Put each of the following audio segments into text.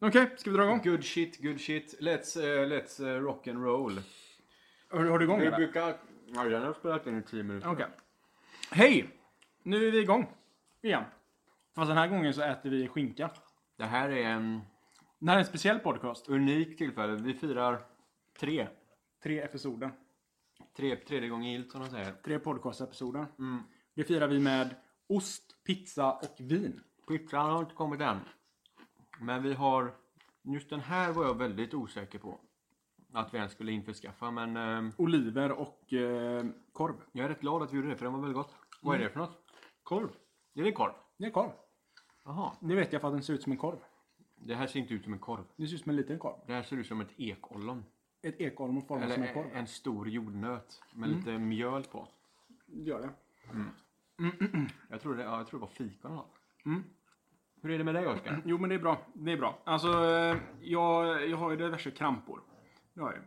Okej, ska vi dra igång? Good shit, good shit. Let's, eh, let's eh, rock and roll. Har, har du igång Vi eller? brukar... Ja, den har spelat in i 10 minuter. Okej. Hej! Nu är vi igång. Igen. Fast den här gången så äter vi skinka. Det här är en Det här är en speciell podcast. unik tillfälle. Vi firar tre. Tre episoder. tre tredje gången gillt som de säger. Tre podcastepisoder. Mm. Det firar vi med ost, pizza och vin. Pizzan har inte kommit än. Men vi har... Just den här var jag väldigt osäker på. Att vi ens skulle införskaffa men... Eh, Oliver och eh, korv. jag är rätt glad att vi gjorde det för den var väldigt gott. Vad är det för något? Korv? Är det korv? Det är korv. Jaha. Det vet jag för att den ser ut som en korv. Det här ser inte ut som en korv. Det ser ut som en liten korv. Det här ser ut som ett ekollon. Ett ekollon och format som Eller en korv. en Mm. stor jordnöt med lite mjöl på. Gör det. Jag tror det, ja, jag tror det var fikon eller något. Mm. Hur är det med dig Oskar? Jo men det är bra. Det är bra. Alltså eh, jag, jag har ju diverse krampor. Det har jag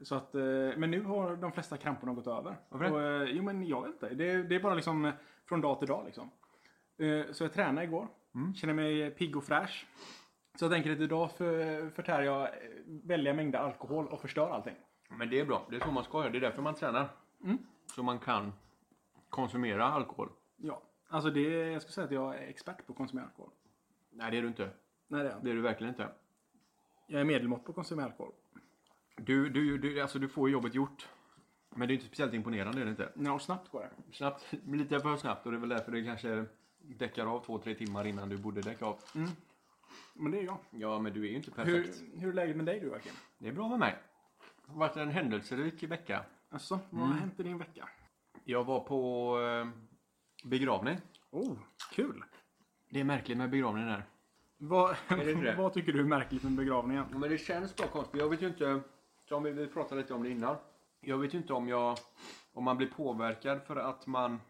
ju. Så att, eh, men nu har de flesta kramporna gått över. Varför det? Och, eh, jo men jag vet inte. Det, det är bara liksom eh, från dag till dag liksom. Eh, Så jag tränade igår. Känner mig pigg och fräsch. Så jag tänker att idag för, förtär jag eh, väldiga mängder alkohol och förstör allting. Men det är bra, det är så man ska göra. Det är därför man tränar. Så man kan konsumera alkohol. Ja. Alltså det, jag skulle säga att jag är expert på att konsumera alkohol. Nej det är du inte. Nej det är jag inte. Det är du verkligen inte. Jag är medelmått på att konsumera alkohol. Du, du, du, alltså, du får ju jobbet gjort. Men det är inte speciellt imponerande är det inte. Ja, och snabbt går det. Snabbt, lite för snabbt och det är väl därför det kanske däckar av två, tre timmar innan du borde däcka av. Men det är jag. Ja men du är ju inte perfekt. Hur, hur är läget med dig du Joakim? Det är bra med mig. Det har varit en händelserik vecka. Alltså, vad Mm. har hänt i din vecka? Jag var på eh, begravning. Oh, kul! Det är märkligt med begravningen här. Vad, det inte det? vad tycker du är märkligt med begravningen? Ja, Men det känns bara konstigt. Jag vet ju inte, som vi- vi pratade lite om det innan. Jag vet ju inte om, jag, om man blir påverkad för att man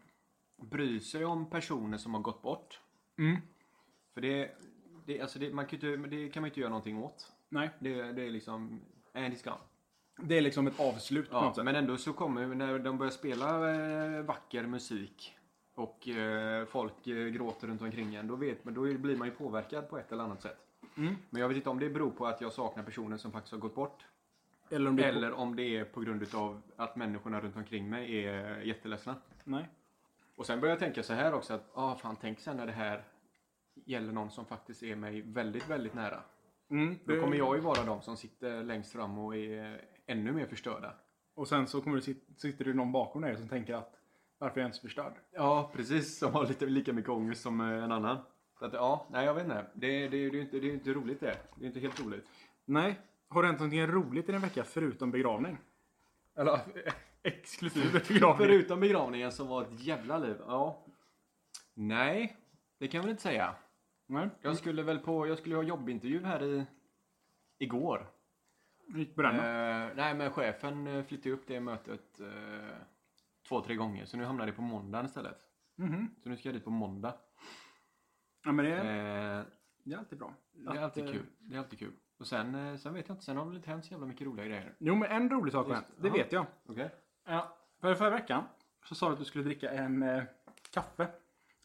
bryr sig om personer som har gått bort. Mm. För det, det, alltså det, man kan ju inte, men det kan man ju inte göra någonting åt. Nej, Det, det är liksom andy skam. det är liksom ett avslut på Ja, något sätt. men ändå så kommer, när de börjar spela eh, vacker musik och eh, folk eh, gråter runt omkring en, då, vet, man- då blir man ju påverkad på ett eller annat sätt. Mm. Men jag vet inte om det beror på att jag saknar personer som faktiskt har gått bort. Eller om det Eller om det är på grund av att människorna runt omkring mig är jätteledsna. Nej. Och sen börjar jag tänka så här också att, ah fan tänk sen när det här gäller någon som faktiskt är mig väldigt, väldigt nära. Mm, Då det- kommer jag ju vara de som sitter längst fram och är ännu mer förstörda. Och sen så kommer det, sit- sitter det någon bakom dig som tänker att varför är jag ens förstörd? Ja, precis. Som har lite lika mycket ångest som eh, en annan. Så att, ja, nej jag vet inte. Det, det, det, är ju inte, det är ju inte roligt det. Det är inte helt roligt. Nej. Har det hänt någonting roligt i din vecka förutom begravning? Eller, Exklusive begravning? förutom begravningen som var ett jävla liv. Ja. Nej, det kan jag väl inte säga. Nej. Jag skulle väl på, jag skulle ha jobbintervju här i igår. Du gick på den då? Eh, nej men chefen eh, flyttade upp det mötet eh, två, tre gånger så nu hamnar det på måndagen istället. Mhm. Så nu ska jag dit på måndag. Ja, men det, Eh, är- det är alltid bra. det är Att, alltid eh, kul. Det är alltid kul. Och sen, eh, sen vet jag inte, sen har väl inte hänt så jävla mycket roliga grejer. Jo, men en rolig sak har Just- hänt. Det ja. vet jag. Okej? Ja, för förra veckan så sa du att du skulle dricka en eh, kaffe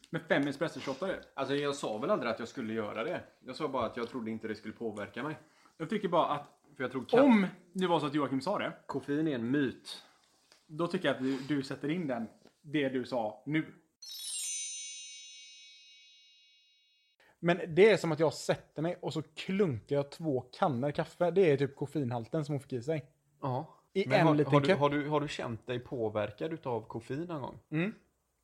med fem espressoshotar i. Alltså jag sa väl aldrig att jag skulle göra det. Jag sa bara att jag trodde inte det skulle påverka mig. Jag tycker bara att För jag tror kaffe... om det var så att Joakim sa det, Koffein är en myt. då tycker jag att du, du sätter in den, det du sa nu. Men det är som att jag sätter mig och så klunkar jag två kannor kaffe. Det är typ koffeinhalten som hon fick i sig. Ja. I Men en har, liten har, du, cup. har, du, har du känt dig påverkad utav koffein någon gång? Mm.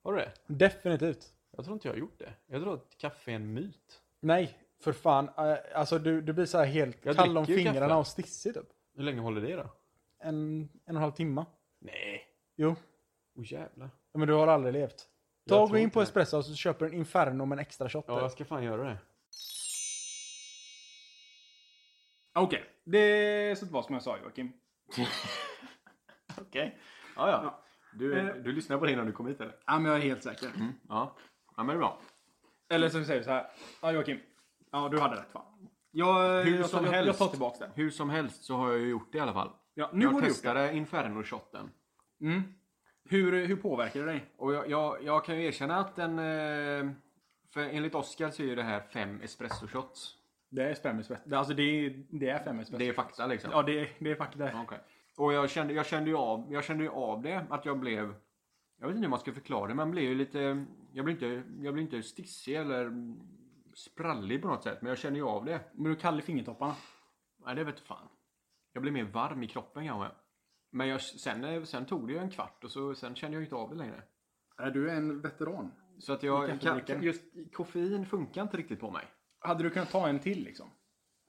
Har du det? Definitivt. Jag tror inte jag har gjort det. Jag tror att kaffe är en myt. Nej, för fan. Eh, Alltså du, du blir så här helt Jag kall om dricker ju fingrarna kaffe. och stissig typ. Hur länge håller det då? En, en och en halv timme. Nej. Jo. Åh jävlar. Ja, Men du har aldrig levt. Jag Ta och gå tror in inte på det. Espresso och så köper du en Inferno med en extra shot. Ja, där. jag ska fan göra det. Okej, det så det var som jag sa Joakim. Okej. Ja, ja. Ja. Du, Eh. du lyssnar på det innan du kom hit eller? Ja, men jag är helt säker. Ja. Ja, men det är bra. Eller så säger vi så här. Ja, Joakim. Ja, du hade rätt fan. Jag, Hur jag, som jag, jag, jag helst. tar tillbaks det. Hur som helst så har jag ju gjort det i alla fall. Ja, nu jag har du gjort det. testade Inferno-shotten. Mm. Hur, hur påverkar det dig? Och jag, jag, jag kan ju erkänna att den... eh, För enligt Oscar så är ju det här fem espresso-shots. Det är spermisvett. Det- Alltså det är, det är femmisvett. Det är fakta liksom. Ja, det är, det är faktiskt det. Okej. Och jag kände, jag, kände ju av, jag kände ju av det, att jag blev... Jag vet inte hur man ska förklara det, men jag blev ju lite... Jag blev inte, jag blev inte stissig eller sprallig på något sätt, men jag kände ju av det. Men du är kall i fingertopparna. Nej, det vet fan. Jag blev mer varm i kroppen kanske. Men jag, sen, sen tog det ju en kvart och så, sen kände jag inte av det längre. Är du en veteran? Så att jag, Kaffedrickare. kan, just koffein funkar inte riktigt på mig. Hade du kunnat ta en till liksom?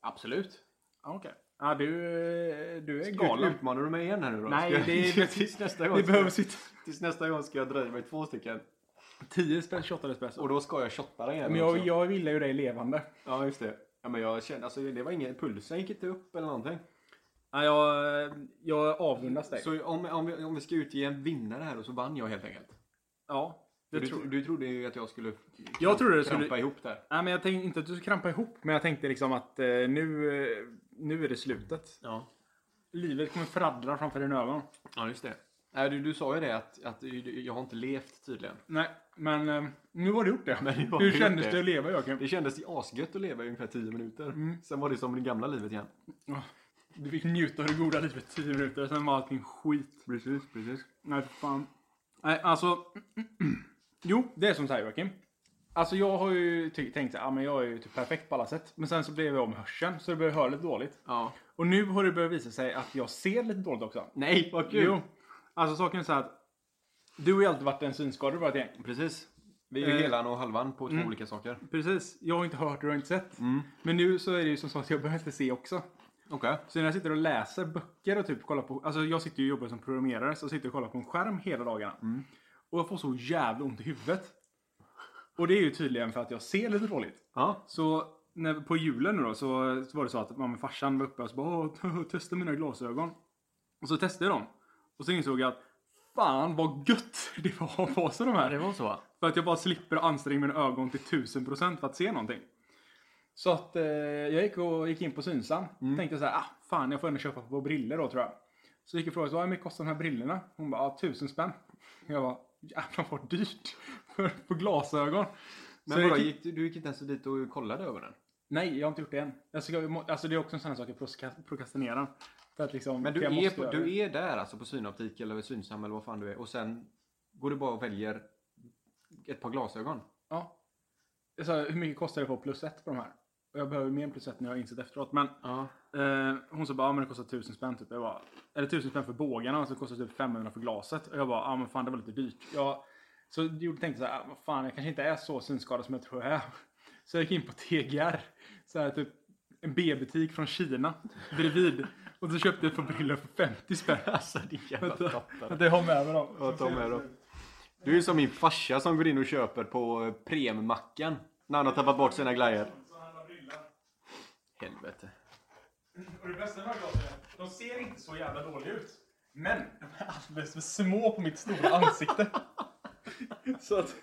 Absolut. Ja, okej. Ja, du, du är Skala gud. utmanar du mig igen här nu då? Nej, Ska jag- det- det- tills nästa gång. Det ska- behövs inte. Tills nästa gång ska jag dröja mig två stycken. 10 spänn, 28 espresso. Och då ska jag shotta dig igen Men jag, också. jag ville ju dig levande. Ja, just det. Ja, men jag kände, alltså det var ingen, pulsen gick inte upp eller någonting. Ja, jag, jag avundas dig. Så om, om, vi, om vi ska utge en vinnare här och så vann jag helt enkelt. ja, det För du, tror jag. du trodde ju att jag skulle Jag trodde det krampa skulle- ihop där. Nej, men jag tänkte inte att du skulle krampa ihop, men jag tänkte liksom att eh, nu, eh, nu är det slutet. Ja. Livet kommer fladdra framför dina ögon. Ja, just det. Nej, du, du sa ju det att, att du- jag har inte levt tydligen. Nej, men eh, nu har du gjort det. Men nu har Hur du kändes gjort det Mm. det. att leva Joakim? Det kändes ju asgött att leva i ungefär 10 minuter. Sen var det som det gamla livet igen. Du fick njuta av det goda livet 10 minuter, sen var allting skit. Precis, precis. Nej, för fan. Nej, alltså. jo, det är som så här Joakim. Alltså jag har ju ty- tänkt att ah, men jag är ju typ perfekt på alla sätt. Men sen så blev jag om hörseln, så det började höra lite dåligt. Ja. Och nu har det börjat visa sig att jag ser lite dåligt också. Nej, vad kul! Jo. Alltså saken är så här att du har ju alltid varit en synskadad bara ett gäng. Precis. Vi är ju Eh. helan och halvan på två olika saker. Precis. Jag har inte hört och du har inte sett. Mm. Men nu så är det ju som sagt att jag börjar inte se också. Okej. Så när jag sitter och läser böcker och typ kollar på... Alltså jag sitter ju och jobbar som programmerare så jag sitter och kollar på en skärm hela dagarna. Och jag får så jävla ont i huvudet. Och det är ju tydligen för att jag ser lite dåligt. Ja. Så när, på julen nu då så, så var det så att mamma och farsan var uppe och så bara "Åh, testa mina glasögon. Och så testade jag dem. Och så insåg jag att fan vad gött det var att ha på sig de här. var så. För att jag bara slipper anstränga mina ögon till 1000% för att se någonting. Så att eh, jag gick, och, gick in på Synsam. Mm. Tänkte så här, ah, fan jag får ändå köpa på briller då tror jag. Så gick jag och frågade, så, "Ah, hur mycket kostar de här brillorna? Hon bara, ah, 1000 spänn. Jag bara, jävlar vad dyrt. För, för glasögon. Så Men jag vadå, gick- gick, du- du gick inte ens dit och kollade över den? Nej, jag har inte gjort det än. Jag ska, jag må- alltså det är också en sån här sak jag proska- prokrastinerar. För att liksom, Men du för jag är, måste på, göra du det. är där alltså på synoptik eller vid synsam eller vad fan du är och sen går du bara och väljer ett par glasögon. Ja. Jag sa, hur mycket kostar det att få plus ett på de här? Och jag behöver mer än plus ett när jag har insett efteråt. Men Ja. eh, hon sa bara, ja men det kostar tusen spänn typ. Jag bara, eller tusen spänn för bågarna och så kostar det typ 500 för glaset. Och jag bara, ja men fan det var lite dyrt. Jag, så jag tänkte så här, "Ah, vad fan jag kanske inte är så synskadad som jag tror jag är. Så jag gick in på TGR. Så här, typ en B-butik från Kina bredvid. Och så köpte jag ett par brillor för 50 spänn. Alltså din jävla Vänta, tattare. vänta, jag har med mig dem. Ja, ta med dem. Du är ju som min farsa som går in och köper på eh, Premmackan när han har tappat bort sina glajjor. Helvete. Och det bästa med de här glasögonen, de ser inte så jävla dåliga ut. Men de är alldeles för små på mitt stora ansikte. så att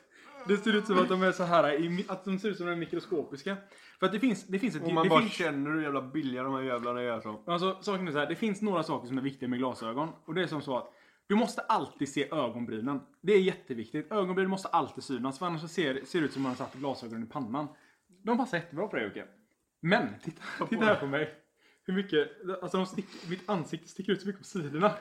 det ser ut som att de är så här, i mi- att de ser ut som de är mikroskopiska. För att det finns, det finns ett... Och man det bara finns, känner hur jävla billiga de här jävlarna är så. Alltså, saken är så här, det finns några saker som är viktiga med glasögon. Och det är som så att du måste alltid se ögonbrynen. Det är jätteviktigt. Ögonbrynen måste alltid synas. För annars så ser, ser det ut som om man har satt glasögonen i pannan. De passar jättebra på dig Jocke. Men, titta, titta här på mig. Hur mycket, alltså de sticker, mitt ansikte sticker ut så mycket på sidorna.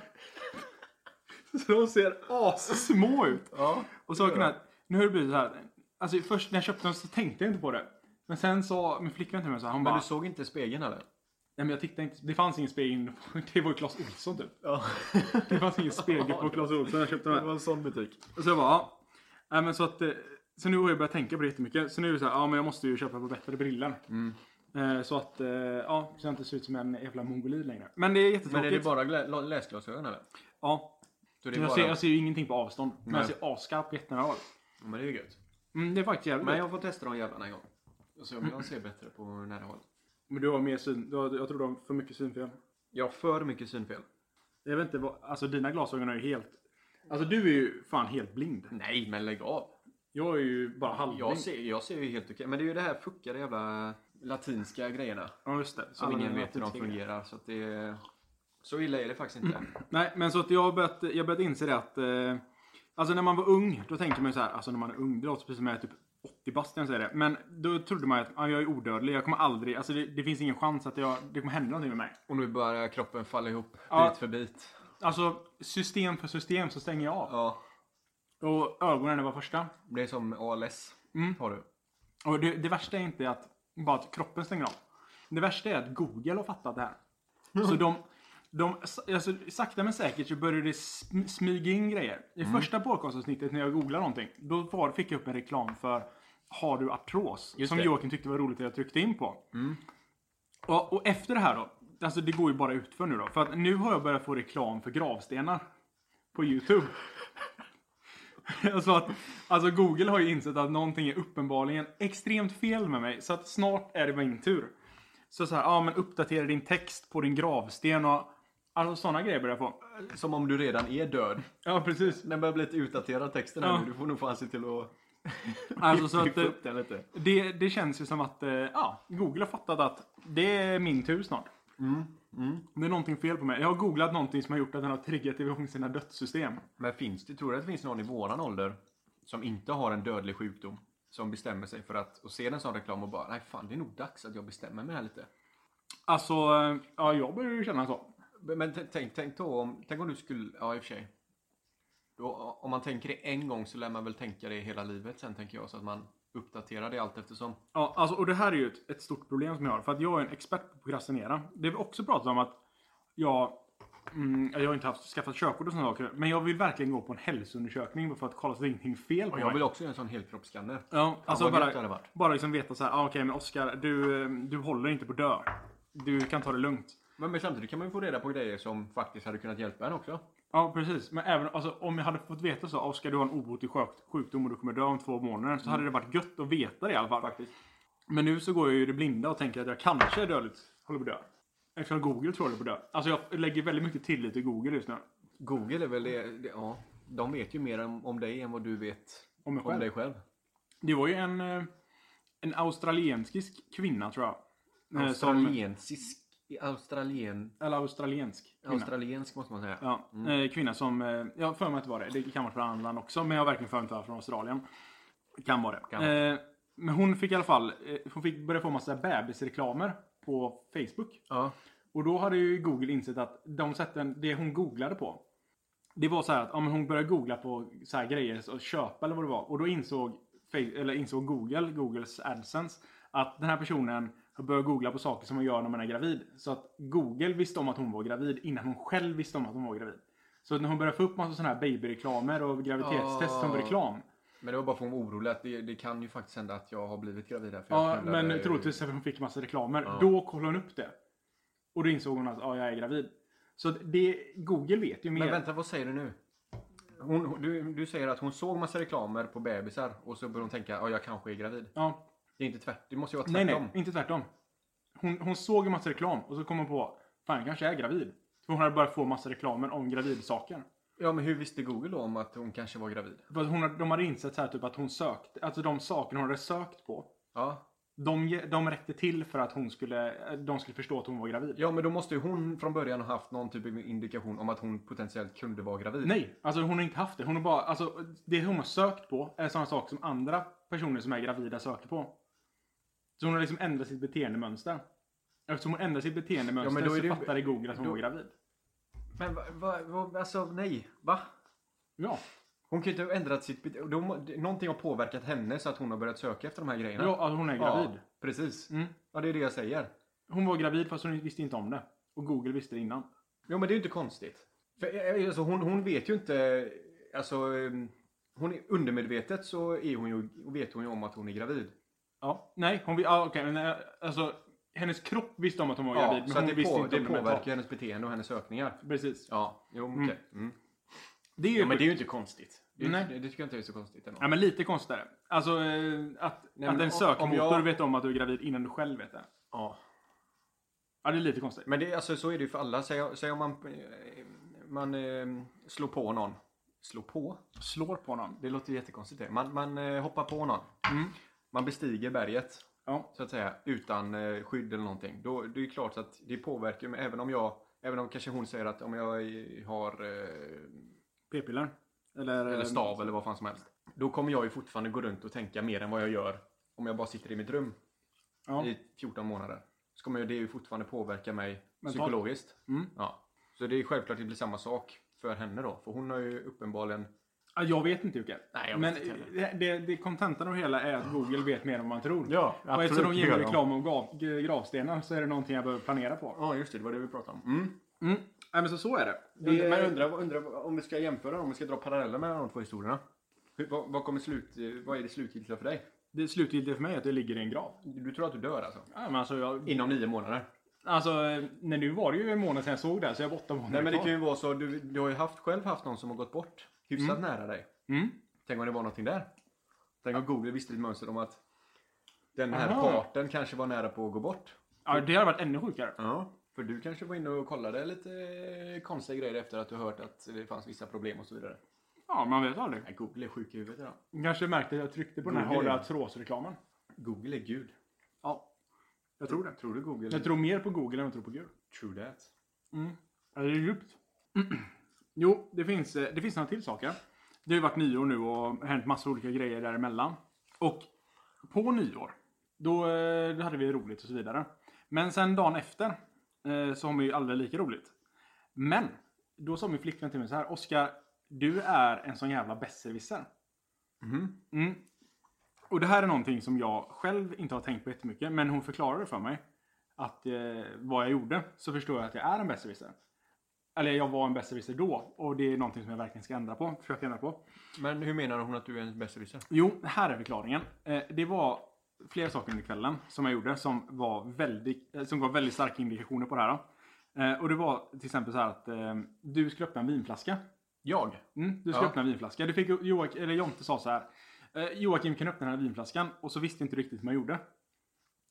Så de ser assmå ut. Ja. Och saken är att nu har det blivit så här. Alltså först när jag köpte dem så tänkte jag inte på det. Men sen sa min flickvän till mig så här, hon Men bara du såg inte spegeln eller? Nej men jag tittade inte. Det fanns ingen spegel. Det var ju Clas Ohlson typ. Ja. Det fanns ingen spegel på Clas Ohlson när jag köpte den här. en sån butik. Och så jag bara, ja. Nej, men så att... eh, Så nu har jag börjat tänka på det jättemycket. Så nu är det så här, ja men jag måste ju köpa på bättre brillor. Mm. Eh, Så att, eh, ja, så jag inte ser ut som en jävla mongolid längre. Men det är jättetråkigt. Men är det bara glä- la- läsglasögon eller? Ja. Så det är Jag bara... ser, jag ser ju ingenting på avstånd. Men jag Nej. ser asskarp på jättenära håll. Ja, Men det är ju gött. Mm, det är faktiskt jävligt. Men Men, jag får testa de jävlarna en gång. Och se om jag ser bättre på nära håll. men du har mer syn. Du har, jag tror du har för mycket synfel. Jag har för mycket synfel. Jag vet inte vad, alltså dina glasögon är ju helt... Alltså du är ju fan helt blind. Nej, men lägg av. Jag är ju bara halvblind. Jag ser, jag ser ju helt okej. Men det är ju det här fuckade jävla latinska grejerna. Ja, just det. Som Alla ingen mina vet hur de latinska grejer. fungerar. Så att det... Så illa är det faktiskt inte. Nej, men så att jag har börjat, jag har börjat inse det att... Eh, alltså när man var ung, då tänkte man ju så här, alltså när man är ung, det låter precis som jag är typ 80 bast när jag säger det. Men då trodde man ju att ah, jag är odödlig. Jag kommer aldrig... Alltså det, det finns ingen chans att jag, det kommer hända någonting med mig. Och nu börjar kroppen falla ihop Ja. bit för bit. Alltså system för system så stänger jag av. Ja, Och ögonen var första. det är som ALS. Mm. Har du. Och det, det värsta är inte att bara att kroppen stänger av. Det värsta är att Google har fattat det här. Mm. Så de, de alltså, sakta men säkert så började det sm- smyga in grejer. I Mm. första podcastavsnittet när jag googlade någonting, då var, fick jag upp en reklam för Har du artros? Just som det. Mm. Joakim tyckte var roligt att jag tryckte in på. Och, och efter det här då, alltså det går ju bara utför nu då. För att nu har jag börjat få reklam för gravstenar på YouTube. alltså, att, alltså Google har ju insett att någonting är uppenbarligen extremt fel med mig. Så att snart är det min tur. Så så här, ja men uppdatera din text på din gravsten och alltså sådana grejer börjar jag få. Som om du redan är död. Ja precis. Den börjar bli lite utdaterad texten här Ja. nu. Du får nog fan se till att Alltså så att piffa eh, upp den lite. det, det känns ju som att eh, ja, Google har fattat att det är min tur snart. Det är någonting fel på mig. Jag har googlat någonting som har gjort att den har triggat igång sina dödssystem. Men finns det, tror du att det finns någon i våran ålder som inte har en dödlig sjukdom? Som bestämmer sig för att, och ser en sån reklam och bara nej fan det är nog dags att jag bestämmer mig här lite. Alltså, eh, ja jag börjar ju känna så. Men men t- tänk, tänk då om, tänk om du skulle, ja i och för sig. Då, om man tänker det en gång så lär man väl tänka det hela livet sen tänker jag. Så att man uppdaterar det allt eftersom. Ja, alltså, och det här är ju ett, ett stort problem som jag har. För att jag är en expert på att prokrastinera. Det vi också pratat om att jag, mm, jag har inte haft, skaffat körkort och sådana saker. Men jag vill verkligen gå på en hälsoundersökning för att kolla så att det är ingenting fel på Och jag mig. vill också göra en sån helkroppsscanner. Ja, alltså vad gött det hade bara, varit. bara liksom veta så här, ah, okej men Oskar, du, eh, du håller inte på att dö. Du kan ta det lugnt. Men, men samtidigt kan man ju få reda på grejer som faktiskt hade kunnat hjälpa en också. Ja, precis. Men även alltså, om jag hade fått veta så, Oskar du har en obotlig sjök- sjukdom och du kommer dö om två månader. Så hade det varit gött att veta det i alla fall. Mm. Faktiskt. Men nu så går jag ju i det blinda och tänker att jag kanske är dödligt håller på att dö. Eftersom Google tror jag håller på att dö. Alltså jag lägger väldigt mycket tillit till Google just nu. Google är väl det, det ja. De vet ju mer om, om dig än vad du vet Om mig om själv. dig själv. Det var ju en, eh, en australiensisk kvinna tror jag. Eh, Som, Australiensisk, australien, eller australiensk kvinna. australiensk måste man säga. Ja, eh, kvinna som, eh, jag har för mig att det var det. Det kan vara från annat land också, men jag har verkligen för mig att det var från Australien. Kan vara det. Kan vara. Eh, men hon fick i alla fall, eh, hon fick börja få massa bebisreklamer på Facebook. Ja. Och då hade ju Google insett att de sätten, det hon googlade på. Det var så här att ja, men hon började googla på så här grejer och köpa eller vad det var. Och då insåg, Fa- eller insåg Google, Googles AdSense, att den här personen har börjat googla på saker som man gör när man är gravid. Så att Google visste om att hon var gravid innan hon själv visste om att hon var gravid. Så när hon började få upp massa sådana här babyreklamer och graviditetstest som Ah. reklam. Men det var bara för att hon var orolig att det, det kan ju faktiskt hända att jag har blivit gravid här. För jag Ja, knullar men dig. troligtvis att hon fick massa reklamer. Ja. Då kollade hon upp det. Och då insåg hon att ja, jag är gravid. Så att det, Google vet ju mer. Men vänta, vad säger du nu? Hon, hon- du, du säger att hon såg massa reklamer på bebisar och så började hon tänka att jag kanske är gravid. Ja, Det är inte tvärt, det måste ju vara nej, tvärtom. nej, inte tvärtom. Hon, hon såg en massa reklam och så kom hon på, fan jag kanske är gravid. För hon hade börjat få massa reklamer om gravidsaker. Ja, men hur visste Google då om att hon kanske var gravid? För att hon, hade- de hade insett så här, typ, att hon sökt, alltså de saker hon hade sökt på. Ja. De, ge- de räckte till för att hon skulle, de skulle förstå att hon var gravid. ja, men då måste ju hon från början ha haft någon typ av indikation om att hon potentiellt kunde vara gravid. Nej, alltså hon har inte haft det. Hon har bara, alltså, det hon har sökt på är sådana saker som andra personer som är gravida söker på. Så hon har liksom ändrat sitt beteendemönster. Eftersom hon ändrar sitt beteendemönster Ja, men då är så det ju- fattade Google att hon då- var gravid. Men va, va, va, alltså nej, va? Ja. Hon kan ju inte ha ändrat sitt bete- då, må- det- Någonting har påverkat henne så att hon har börjat söka efter de här grejerna. ja, alltså hon är gravid. Ja, precis. Mm. Ja, det är det jag säger. Hon var gravid fast hon visste inte om det. Och Google visste det innan. Jo, men det är ju inte konstigt. För, eh, alltså, hon, hon vet ju inte... Alltså, eh, hon är, undermedvetet så är hon ju, vet hon ju om att hon är gravid. Ja. Nej, hon vi- ah, okej, men, eh, alltså, hennes kropp visste om att hon var gravid. men så att hon det, visste på, inte det om det mentalt. påverkar ju hennes beteende och hennes sökningar. Precis. Ja, jo, okej. Mm. Mm. Det är ju Ja, men det är ju inte konstigt. Det, är ju Nej. inte- det tycker jag inte är så konstigt ändå. ja, men lite konstigt är det. Alltså eh, att, men att om- om en sökmotor jag- vet om att du är gravid innan du själv vet det. Ja. Ja, det är lite konstigt. Men det, alltså, så är det ju för alla. Säg, säg om man, eh, man eh, slår på någon. Slå på? Slår på någon. Det låter jättekonstigt det. Man, man eh, hoppar på någon. Mm. Man bestiger berget. Ja. så att säga, utan eh, skydd eller någonting. Då, det är ju klart att det påverkar ju mig, även om jag, även om kanske hon säger att om jag eh, har eh, P-piller. eh, Eller, eller stav eller vad fan som helst. Då kommer jag ju fortfarande gå runt och tänka mer än vad jag gör om jag bara sitter i mitt rum Ja. i 14 månader. Så kommer det ju fortfarande påverka mig Mentalt. psykologiskt. Mm. Ja. Så det är självklart det blir samma sak för henne då. För hon har ju uppenbarligen... Ja, Jag vet inte Jocke. Nej, jag Men vet inte heller. det- det, det kontentan av det hela är att Google vet mer än vad man tror. Ja, och eftersom de absolut, ger mig det gör de. reklam om gav- g- gravstenar så är det någonting jag behöver planera på. Ja, just det. Det var det vi pratade om. Mm. Mm. Nej, men så, så är det. Det... Det- Men undrar undra om vi ska jämföra, om vi ska dra paralleller mellan de två historierna. Hur, vad, vad, kommer slut, eh, vad är det slutgiltiga för dig? det slutgiltiga för mig är att det ligger i en grav. Du tror att du dör alltså? Ja, men alltså, jag, Inom nio månader? alltså, när nu var det ju en månad sedan jag såg det här, så jag har åtta månader Nej men det kvar. kan ju vara så, du, du har ju haft, själv haft någon som har gått bort hyfsat nära dig. Mm. Tänk om det var någonting där? Tänk om Google visste ditt mönster om att den här Aha. parten kanske var nära på att gå bort. Ja, det har varit ännu sjukare. Ja. För du kanske var inne och kollade lite eh, konstiga grejer efter att du hört att det fanns vissa problem och så vidare. Ja, man vet aldrig. Nej, Google är sjuk i huvudet idag. Kanske märkte att jag tryckte på den här Google. hårda tråsreklamen. Google är gud. Ja, jag tror det. Tror du Google? Jag tror mer på Google än jag tror på Gud. True that. Mm. Ja, det är djupt. jo, det finns, eh, det finns några till saker. Det har ju varit nyår nu och hänt massa olika grejer däremellan. Och på nyår, då, eh, då hade vi roligt och så vidare. Men sen dagen efter eh, så har vi ju aldrig lika roligt. Men då sa min flickvän till mig så här. Oskar, du är en sån jävla besserwisser. Mhm. Mm. Och det här är någonting som jag själv inte har tänkt på jättemycket. Men hon förklarade för mig att eh, vad jag gjorde så förstår jag att jag är en besserwisser. Eller jag var en besserwisser då och det är någonting som jag verkligen ska ändra på. Försöka ändra på. Men hur menar hon att du är en besserwisser? Jo, här är förklaringen. Eh, det var flera saker under kvällen som jag gjorde som, var väldigt, eh, som gav väldigt starka indikationer på det här. då. Eh, och det var till exempel så här att eh, du skulle öppna en vinflaska. Jag? Mm, du ska Ja. öppna en vinflaska. Du fick Joakim, eller Jonte sa så här. Eh, Joakim kan öppna den här vinflaskan och så visste inte du riktigt hur man gjorde.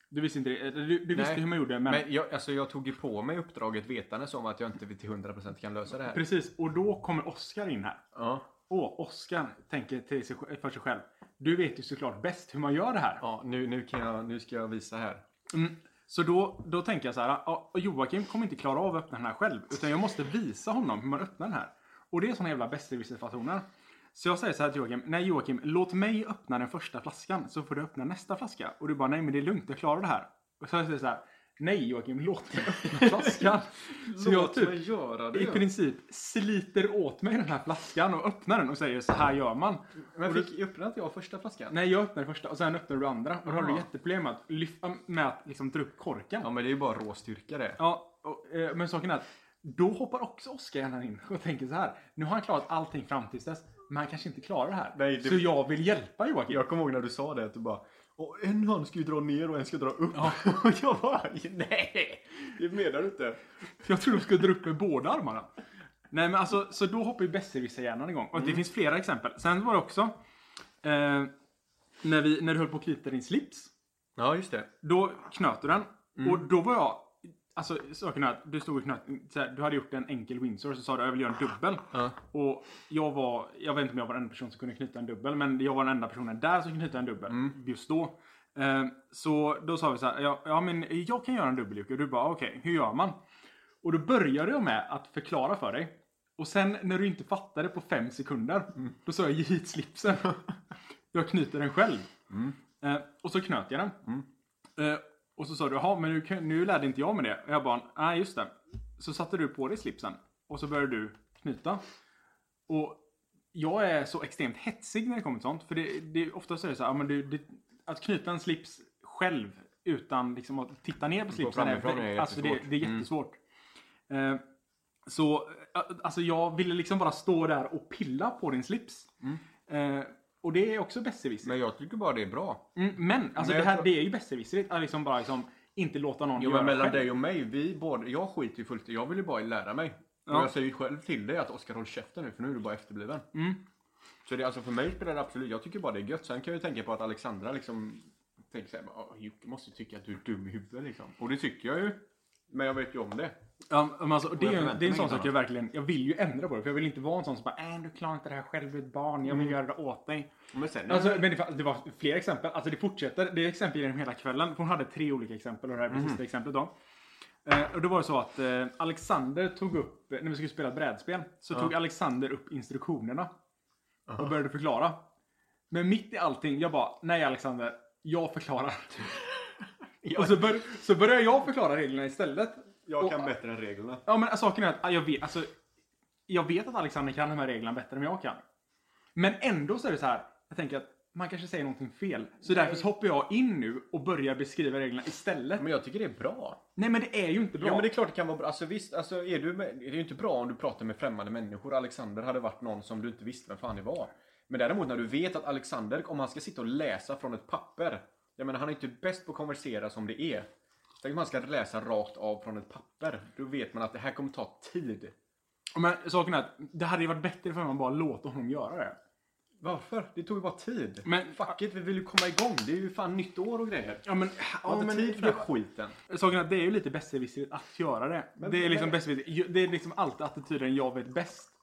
Du visste inte det. eller Du, du visste Nej, hur man gjorde men, Men jag, alltså jag tog ju på mig uppdraget vetandes om att jag inte till 100% kan lösa det här. Precis, och då kommer Oskar in här. Ja. Och Oskar tänker till sig, för sig själv. Du vet ju såklart bäst hur man gör det här. Ja, nu, nu, kan jag, nu ska jag visa här. Mm. Så då, då tänker jag så här. "Ja, Joakim kommer inte klara av att öppna den här själv. Utan jag måste visa honom hur man öppnar den här. Och det är såna jävla besserwisser-fasoner. Så jag säger så här till Joakim. Nej Joakim, låt mig öppna den första flaskan. Så får du öppna nästa flaska. Och du bara, nej men det är lugnt, jag klarar det här. Och så säger jag så här. Nej Joakim, låt mig öppna flaskan. så jag typ göra i princip sliter åt mig den här flaskan och öppnar den och säger så här gör man. Men fick öppnat jag första flaskan? Nej jag öppnar den första och sen öppnar du andra. Och då har du Aha. jätteproblem med att, lyfta, med att liksom dra upp korken. Ja men det är ju bara råstyrka det. Ja, och, eh, men saken är att då hoppar också Oskar gärna in och tänker så här. Nu har han klarat allting fram tills dess, men han kanske inte klarar det här. Nej, det- Så jag vill hjälpa Joakim. Jag kommer ihåg när du sa det att du bara och en hand ska ju dra ner och en ska dra upp. Ja. Och jag bara nej! Det menar du inte. Jag tror de skulle dra upp med båda armarna. Nej, men alltså, så då hoppar ju besserwisser-hjärnan igång. Mm. Och det finns flera exempel. Sen var det också eh, när, vi, när du höll på att knyta din slips. Ja just det. Då knöt du den. Och då var jag... Alltså saken är att du stod och knöt... Så här, du hade gjort en enkel Windsor så sa du jag vill göra en dubbel. Ja. Och jag var... Jag vet inte om jag var den enda personen som kunde knyta en dubbel. Men jag var den enda personen där som kunde knyta en dubbel. Just då. Eh, så då sa vi så här. Ja, ja men jag kan göra en dubbel Jocke. Och du bara okej, hur gör man? Och då började jag med att förklara för dig. Och sen när du inte fattade på fem sekunder. Då sa jag ge hit slipsen. jag knyter den själv. Eh, och så knöt jag den. Eh, och så sa du, jaha men nu, kan- nu lärde inte jag mig det. Och jag bara, nej just det. Så satte du på dig slipsen. Och så började du knyta. Och jag är så extremt hetsig när det kommer till sånt. För det, det, ofta så är det så här, ja, men det, det, att knyta en slips själv utan liksom att titta ner på slipsen. framifrån är alltså det, det är jättesvårt. Mm. jättesvårt. Eh, så eh, alltså jag ville liksom bara stå där och pilla på din slips. Mm. Eh, och det är också besserwisser. Men jag tycker bara det är bra. Mm, men alltså Men det, jag här, tror- det är ju besserwisserigt att liksom bara liksom inte låta någon Jo göra men mellan själv. dig och mig, vi båda, jag skiter ju fullt i- Jag vill ju bara lära mig. Ja. Och jag säger ju själv till dig att Oskar håll käften nu för nu är du bara efterbliven. Mm. Så det, alltså för mig spelar det absolut, jag tycker bara det är gött. Sen kan jag ju tänka på att Alexandra liksom tänker såhär, "Åh, Jocke måste tycka att du är dum i huvudet liksom. Och det tycker jag ju. Men jag vet ju om det. Ja, men alltså, det, jag är, förväntar det är en mig sån inget sak jag verkligen, jag vill ju ändra på det. För jag vill inte vara en sån som bara äh, du klarar inte det här själv, du är ett barn, jag vill Mm. göra det åt dig. Men sen, Alltså, men det, det var fler exempel, alltså det fortsätter. Det är exempel genom hela kvällen. Hon hade tre olika exempel och det här är det Mm. sista exemplet då. Eh, och då var det så att eh, Alexander tog upp, när vi skulle spela brädspel, så tog Alexander upp instruktionerna. Och började förklara. Men mitt i allting, jag bara, nej Alexander, jag förklarar. Och så, bör, så börjar jag förklara reglerna istället. Jag kan bättre än reglerna. Ja men saken är att ja, jag vet, alltså, jag vet att Alexander kan de här reglerna bättre än jag kan. Men ändå så är det så här, jag tänker att man kanske säger någonting fel. Så därför så hoppar jag in nu och börjar beskriva reglerna istället. Men jag tycker det är bra. Nej men det är ju inte bra. Ja men det är klart det kan vara bra. Alltså visst, alltså, är du med, det är ju inte bra om du pratar med främmande människor. Alexander hade varit någon som du inte visste vem fan det var. Men däremot när du vet att Alexander, om han ska sitta och läsa från ett papper. Jag menar han är inte bäst på att konversera som det är. Tänk om han ska läsa rakt av från ett papper. Då vet man att det här kommer ta tid. Men saken är att det hade ju varit bättre för man bara låta honom göra det. Varför? Det tog ju bara tid. Men- Fuck it, vi vill ju komma igång. Det är ju fan nytt år och grejer. Ja men, Jag ja, har inte men tid för den här skiten. Saken är att det är ju lite besserwisserigt att göra det. Men- det, är liksom men- besserwisser- ju- det är liksom alltid attityden jag vet bäst.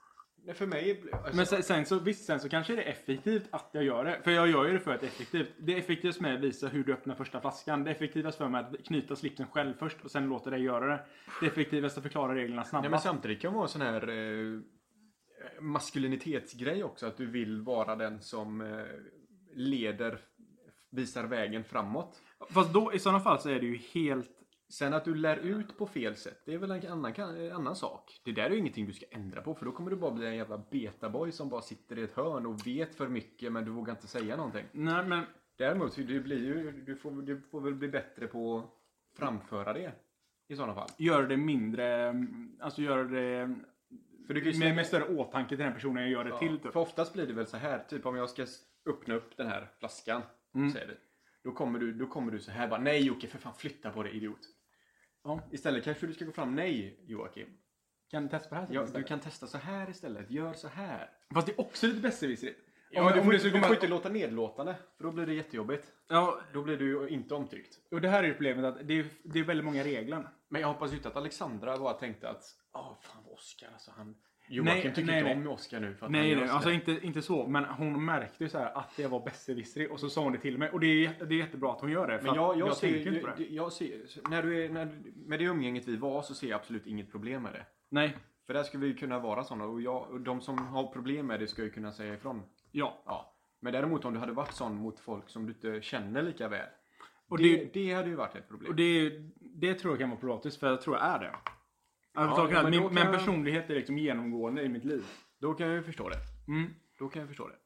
Nej, för mig... blir- Alltså, Men sen, sen så, visst, sen så kanske det är effektivt att jag gör det. För jag gör ju det för att det är effektivt. Det är effektivt med att visa hur du öppnar första flaskan. Det är effektivast för mig att knyta slipsen själv först och sen låta dig göra det. Det är effektivast att förklara reglerna Nej, snabbast. men samtidigt kan det vara en sån här eh, maskulinitetsgrej också. Att du vill vara den som eh, leder, visar vägen framåt. Fast då, i sådana fall så är det ju helt... Sen att du lär ut på fel sätt, det är väl en annan, en annan sak. Det där är ju ingenting du ska ändra på för då kommer du bara bli en jävla betaboy som bara sitter i ett hörn och vet för mycket men du vågar inte säga någonting. Nej men, Däremot, du, blir ju, du, får, du får väl bli bättre på att framföra det i sådana fall. gör det mindre... mm, Alltså gör det... För du kan ju Med, slänga- med större åtanke till den personen jag gör det Ja, till typ. För oftast blir det väl så här, typ om jag ska s- öppna upp den här flaskan, Mm. säger vi. Då kommer, du, då kommer du så här bara, nej Jocke för fan flytta på dig idiot. Ja. Istället kanske du ska gå fram, nej Joakim. Kan du testa på det här Ja, sättet du istället? kan testa så här istället, gör så här. Fast det är också lite besserwisserigt. Ja, Om- men du, om får, du inte- skulle du komma- får inte låta nedlåtande, för då blir det jättejobbigt. Ja, Då blir du ju inte omtyckt. och det här är ju problemet att det är, det är väldigt många regler. Men jag hoppas ju inte att Alexandra bara tänkte att, åh fan vad Oscar alltså han... Joakim Nej, tycker nej, inte nej. om Oscar nu för att han Nej, gör nej, sådär." alltså inte, inte så. Men hon märkte ju så här att jag var besserwisserig och så sa hon det till mig. Och det är, jätte- det är jättebra att hon gör det. för Men att jag, jag, ser, tänker ju- inte på det. jag, ser, så när du är, när, du- med det umgänget vi var så ser jag absolut inget problem med det. Nej, För där ska vi ju kunna vara sådana och, jag, och de som har problem med det ska ju kunna säga ifrån. ja. Ja. Men däremot om du hade varit sån mot folk som du inte känner lika väl. Och Och det, det- det, hade ju varit ett problem. Och det, är ju- det tror jag kan vara problematiskt för jag tror jag är det. Ja, Alltså, ja, ja, men min, då kan men jag- personlighet är liksom genomgående i mitt liv. Då kan jag ju förstå det. Mm. Då kan jag förstå det.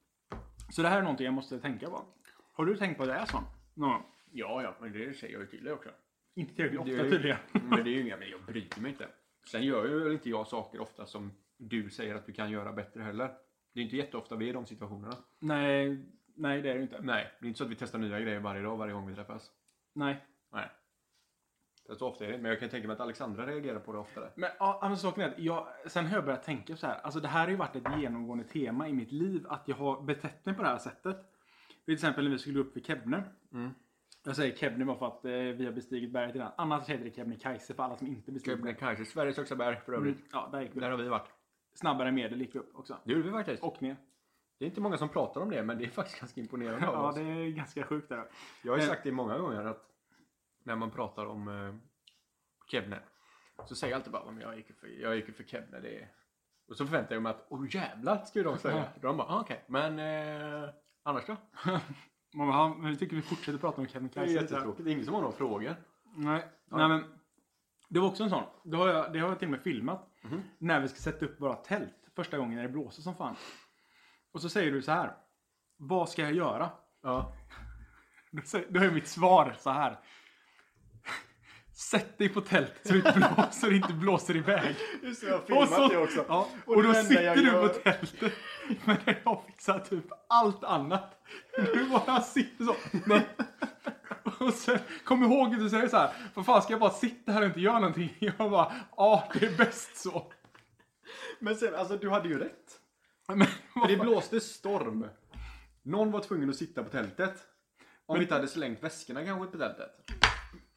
Så det här är någonting jag måste tänka på. Har du tänkt på att det är så? No. Ja, ja, men det säger jag ju till dig också. Inte tillräckligt ofta Det är ju- tydligen. Men det är ju inga, men jag bryr mig inte. Sen gör ju väl inte jag saker ofta som du säger att du kan göra bättre heller. Det är inte jätteofta vi är i de situationerna. Nej, nej det är det ju inte. Nej, det är inte så att vi testar nya grejer varje dag, varje gång vi träffas. Nej. Nej. Det är så ofta är det, men jag kan tänka mig att Alexandra reagerar på det oftare. Men ja, alltså, saken är att jag, sen har jag börjat tänka så här. Alltså det här har ju varit ett genomgående tema i mitt liv. Att jag har betett mig på det här sättet. Till exempel när vi skulle upp vid Kebne. Mm. Jag säger Kebne bara för att eh, vi har bestigit berget innan. Annars heter det Kebnekaise för alla som inte bestigit berget. Kebnekaise, Sveriges högsta berg för övrigt. Mm. Ja, där gick vi. Där upp. har vi varit. Snabbare än medel gick vi upp också. Det gjorde vi faktiskt. Och ner. det är inte många som pratar om det, men det är faktiskt ganska imponerande av Ja, oss. det är ganska sjukt där. Jag har ju Men- sagt det många gånger att när man pratar om eh, Kebne så säger jag alltid bara att jag gick ju för, jag gick ju för Kebne. Det är... Och så förväntar jag mig att åh jävlar ska ju de säga. de bara ah, okej, men eh, annars då? Man bara, ja, men vi tycker vi fortsätter prata om Det är Kebnekaise. lite här. jättetråkigt. Det är ingen som har några frågor. Nej, Ja. nej men. Det var också en sån. Det har jag, det har jag till och med filmat. Mhm. När vi ska sätta upp våra tält. Första gången när det blåser som fan. Och så säger du så här. Vad ska jag göra? Ja. Då säger- Då är mitt svar så här. Sätt dig på tältet så det inte blåser, så det inte blåser iväg. Just det, jag har Ja, Och och, det då enda sitter jag du gör- på tältet. Men jag har fixat typ allt annat. Du bara sitter så. Nej. Och sen, kom ihåg att du säger så här. Vad fan ska jag bara sitta här och inte göra någonting? Jag bara, ja det är bäst så. Men sen, alltså du hade ju rätt. Men, För det blåste storm. Någon var tvungen att sitta på tältet. Om vi inte hade slängt väskorna kanske på tältet.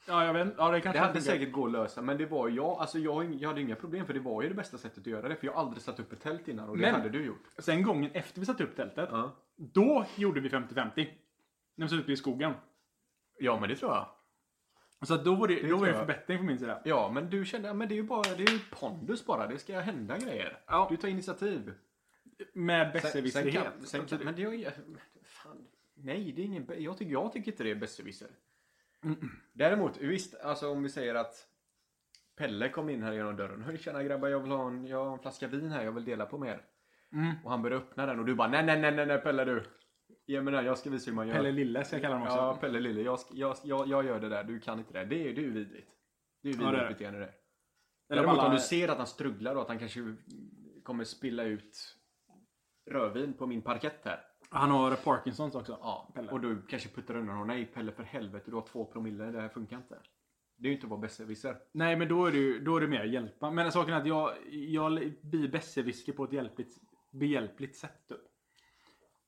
ja, jag vet, ja, det Det kanske hade funkar. säkert gå att lösa, men det var jag, alltså jag, har ing- jag hade inga problem för det var ju det bästa sättet att göra det. För jag har aldrig satt upp ett tält innan och det Men- hade du gjort. Sen gången efter vi satte upp tältet. Ja. Då gjorde vi 50-50. När vi satt ute i skogen. ja, men det tror jag. Så att då var det, då var tror det en jag. förbättring från min sida. Ja, men du kände, ja, men det är ju bara, det är ju pondus bara. Det ska hända grejer. Ja. Du tar initiativ. Med Sen, sen besserwisserhet. kan, sen kan, men det är ju, fan, Nej, det är ingen, bä- jag, tycker, jag tycker inte det är besserwisser. Däremot, visst, alltså om vi säger att Pelle kom in här genom dörren. Hej tjena grabbar, jag vill ha en, jag har en flaska vin här, jag vill dela på med er. Mm. Och han började öppna den och du bara nej, nej, nej, nej, nej Pelle du. Ge mig den, jag ska visa hur man gör. Pelle Lille ska jag kalla honom också. Ja, Pelle Lille, jag, ska- jag, jag, jag gör det där, du kan inte det. Det är det är ju vidrigt. Det är ju Ja, vidrigt det är det. beteende det. Eller Däremot bara- om du ser att han strugglar och att han kanske kommer spilla ut rödvin på min parkett här. Han har Parkinsons också. Ja, Pelle. och du kanske puttar undan honom. Nej Pelle för helvete, du har två promille, det här funkar inte. Det är ju inte att vara besserwisser. Nej, men då är, det, ju- då är det mer hjälpa. Men saken är att jag, jag blir besserwisser på ett hjälpligt, behjälpligt sätt. Typ.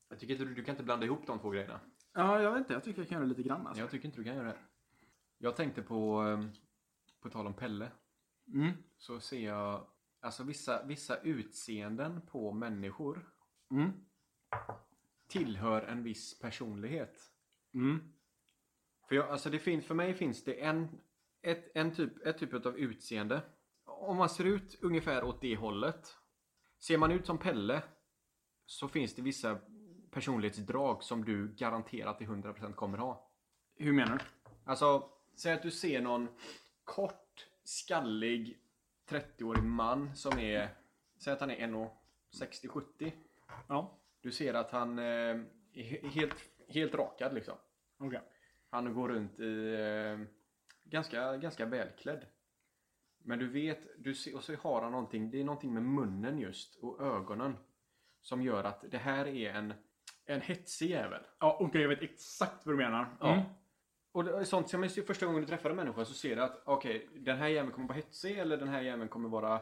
Jag tycker inte du, du kan inte blanda ihop de två grejerna. Ja, jag vet inte. Jag tycker jag kan göra det lite grann. Alltså. Jag tycker inte du kan göra det. Jag tänkte på, ehm, på tal om Pelle, Mm. så ser jag alltså vissa, vissa utseenden på människor Mm. tillhör en viss personlighet. Mm. För, jag, alltså det finns, för mig finns det en, ett, en typ, ett typ av utseende. Om man ser ut ungefär åt det hållet. Ser man ut som Pelle så finns det vissa personlighetsdrag som du garanterat till 100% kommer ha. Hur menar du? Alltså, säg att du ser någon kort, skallig, 30-årig man som är, säg att han är 1,60-70. Ja, Du ser att han eh, är he- helt, helt rakad liksom. okej. Han går runt i eh, ganska, ganska välklädd. Men du vet, du ser, och så har han någonting, det är någonting med munnen just och ögonen som gör att det här är en, en hetsig jävel. Ja, okej. jag vet exakt vad du menar. Ja. Mm. Och det är sånt som är första gången du träffar en människa så ser du att okej, den här jäveln kommer vara hetsig eller den här jäveln kommer vara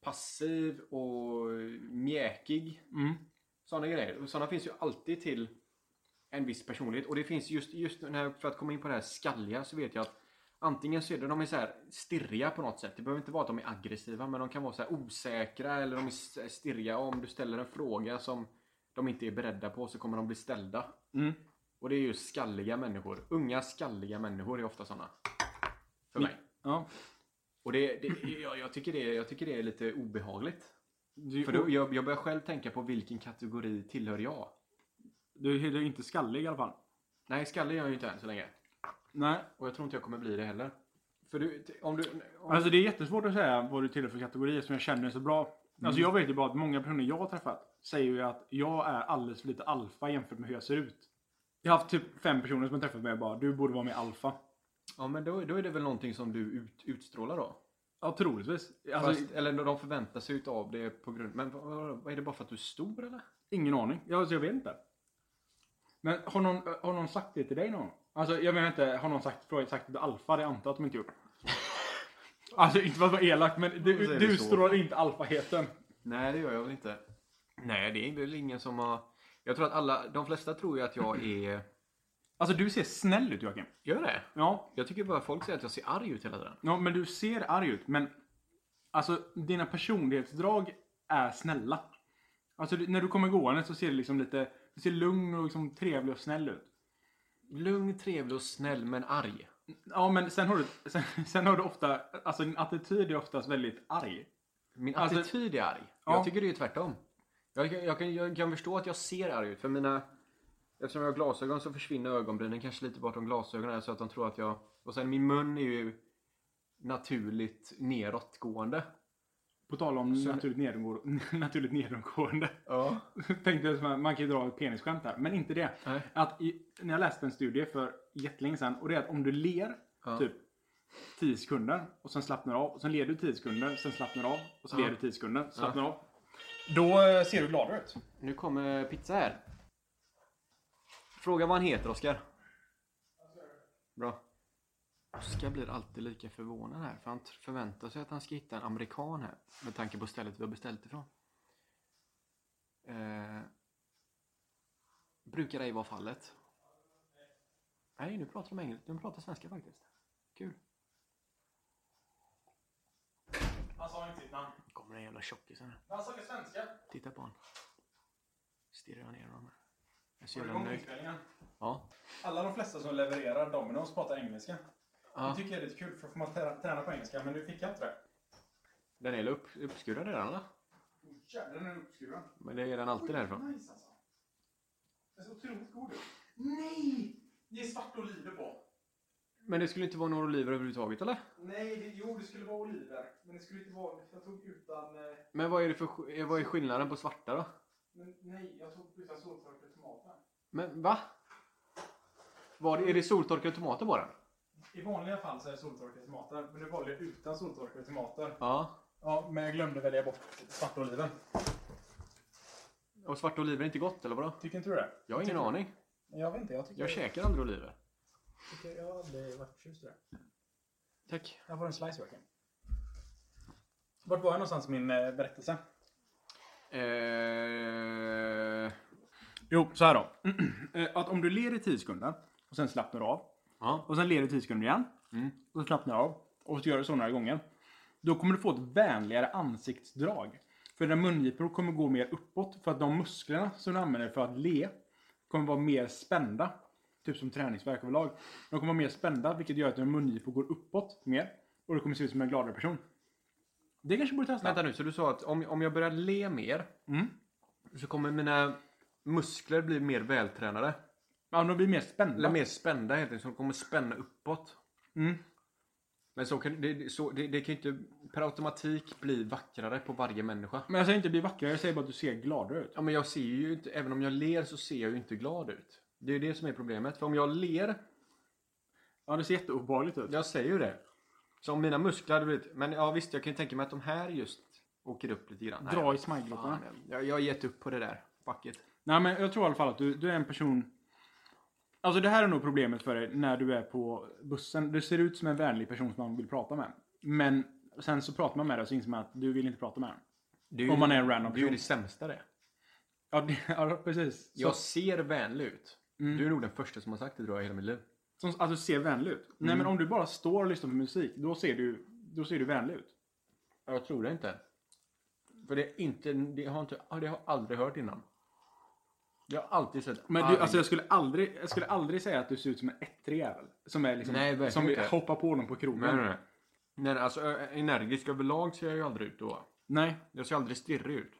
passiv och mjäkig. Mm. Sådana grejer. Och sådana finns ju alltid till en viss personlighet. Och det finns just, just den här, för att komma in på det här skalliga så vet jag att antingen så är det, de är så här stirriga på något sätt. Det behöver inte vara att de är aggressiva men de kan vara så här osäkra eller de är s- eh, stirriga. Och om du ställer en fråga som de inte är beredda på så kommer de bli ställda. Mm. Och det är ju skalliga människor. Unga skalliga människor är ofta sådana. För Mm. mig. Ja. Och det, det, jag, jag, tycker det, jag tycker det är lite obehagligt. Du, För då, jag, jag börjar själv tänka på vilken kategori tillhör jag? du är ju inte skallig i alla fall. Nej, skalle är jag ju inte än så länge. Nej. Och jag tror inte jag kommer bli det heller. För du, t- om du... Om, Alltså det är jättesvårt att säga vad du tillhör för kategorier som jag känner så bra. Alltså jag vet ju bara att många personer jag har träffat säger ju att jag är alldeles för lite alfa jämfört med hur jag ser ut. Jag har haft typ fem personer som har träffat mig och bara du borde vara mer alfa. ja, men då, då är det väl någonting som du ut, utstrålar då? Ja, troligtvis. Alltså, Fast, eller de förväntar sig utav det på grund... Men vad- vad, vad är det bara för att du är stor eller? Ingen aning. Jag, alltså, jag vet inte. Men har någon, har någon sagt det till dig någon gång? Alltså jag menar inte, har någon sagt, frågat- sagt det till alfa? Det antar jag att de inte gjort. Alltså inte för att vara elak men Då säger du, du vi så. utstrålar inte alfaheten. Nej, det gör jag väl inte. Nej, det är väl ingen som har... Jag tror att alla... De flesta tror ju att jag är... Alltså du ser snäll ut Joakim. Gör det? Ja, Jag tycker bara folk säger att jag ser arg ut hela tiden. Ja, men du ser arg ut. Men alltså, dina personlighetsdrag är snälla. Alltså, du- när du kommer gående så ser du liksom lite du ser lugn och liksom trevlig och snäll ut. Lugn, trevlig och snäll men arg. Ja, men sen har du, sen, sen har du ofta, alltså din attityd är oftast väldigt arg. Min Alltså- attityd är arg. Ja. Jag tycker det är tvärtom. Jag, kan- jag, kan, jag kan förstå att jag ser arg ut för mina... Eftersom jag har glasögon så försvinner ögonbrynen kanske lite bortom glasögonen här, så att de tror att jag... Och sen min mun är ju naturligt nedåtgående. På tal om Så- naturligt, nedgå- naturligt nedåtgående. Ja. Tänkte jag, så här, man kan ju dra ett penisskämt här, men inte det. Nej. Att i, när jag läste en studie för jättelänge sedan och det är att om du ler Ja. typ 10 sekunder och sen slappnar av och sen ler du 10 sekunder, sen slappnar av och så Ja. ler du 10 sekunder, slappnar av. Då eh, ser du gladare ut. Nu kommer pizza här. Fråga vad han heter, Oskar. Bra. Oskar blir alltid lika förvånad här, för han tr- förväntar sig att han ska hitta en amerikan här. Med tanke på stället vi har beställt ifrån. Eh, brukar ej vara fallet. Nej, nu pratar de engelska. De pratar svenska faktiskt. Kul. Han sa inte sitt namn. Nu kommer den jävla tjockisen här. Han sa det svenska. Titta på honom. Stirrar jag ner honom. här. Jag är så jävla nöjd. Ja. Alla de flesta som levererar Domino's pratar engelska. Ja. tycker jag är lite kul för då får man träna på engelska, men nu fick jag inte det. Den är upp, uppskurad redan eller? Jävlar, den är uppskruvad. Men det är den alltid därifrån. Nice alltså. Den är så otroligt god ut. Nej! Det är svart oliver på. Men det skulle inte vara några oliver överhuvudtaget eller? Nej, det, jo det skulle vara oliver. Men det skulle inte vara... Jag tog utan... eh, Men vad är, det för, sk- eh, vad är skillnaden på svarta då? Men nej, jag tog utan soltorkade tomater. Men va? Var det, är det soltorkade tomater på den? I vanliga fall så är det soltorkade tomater. Men nu valde jag utan soltorkade tomater. Ja. Ja, men jag glömde välja bort svarta oliven. Och svarta oliver är inte gott eller vadå? Tycker inte du det? Jag har ingen Tycker- aning. Jag vet inte. Jag tycker... Jag käkar aldrig oliver. tycker jag har aldrig varit förtjust i det. Tack. Jag får en slice verkligen. Vart var jag någonstans i min eh, berättelse? Eh... Jo, så här då. Eh, att om du ler i 10 sekunder och sen slappnar du av. Ja. Och sen ler du 10 sekunder igen. Mm. Och så slappnar du av. Och så gör du så några gånger. Då kommer du få ett vänligare ansiktsdrag. För dina mungipor kommer gå mer uppåt. För att de musklerna som du använder för att le kommer vara mer spända. Typ som träningsvärk överlag. De kommer vara mer spända vilket gör att dina mungipor går uppåt mer. Och du kommer se ut som en gladare person. Det kanske borde testa. Vänta nu, så du sa att om, om jag börjar le mer Mm. så kommer mina muskler bli mer vältränade? Ja, de blir mer Eller spända. mer spända helt enkelt, så de kommer spänna uppåt? Mm. Men så kan, det- det, så, det, det kan ju inte per automatik bli vackrare på varje människa. Men jag säger inte bli vackrare, jag säger bara att du ser gladare ut. Ja, men jag ser ju inte, även om jag ler så ser jag ju inte glad ut. Det är ju det som är problemet. För om jag ler, Ja, det ser jätteobehagligt ut. jag säger ju det. Så om mina muskler hade blivit, men ja visst jag kan ju tänka mig att de här just åker upp lite grann. Dra i Nej, smilegrottorna. fan, jag, jag har gett upp på det där. Fuck it. Nej, men jag tror i alla fall att du, du är en person... Alltså det här är nog problemet för dig när du är på bussen. Du ser ut som en vänlig person som man vill prata med. Men sen så pratar man med dig och så inser man att du vill inte prata med den. Det är Om man är en random Det är ju person. det sämsta det. Ja, det, ja precis. Så, Jag ser vänlig ut. Mm. Du är nog den första som har sagt det tror jag i hela mitt liv. som, att du ser vänlig ut. Nej, Mm. men om du bara står och lyssnar på musik, då ser du, då ser du vänlig ut. Jag tror det inte. För det, är inte, det, har, inte, ja, det har jag aldrig hört innan. Jag har alltid sett Men arg- du, alltså jag skulle aldrig, jag skulle aldrig säga att du ser ut som en ettrig jävel. Som är liksom, Nej, verkligen som inte. hoppar på dem på krogen. Nej, nej, nej. nej alltså, ö- energisk överlag ser jag ju aldrig ut då. nej. Jag ser aldrig stirrig ut.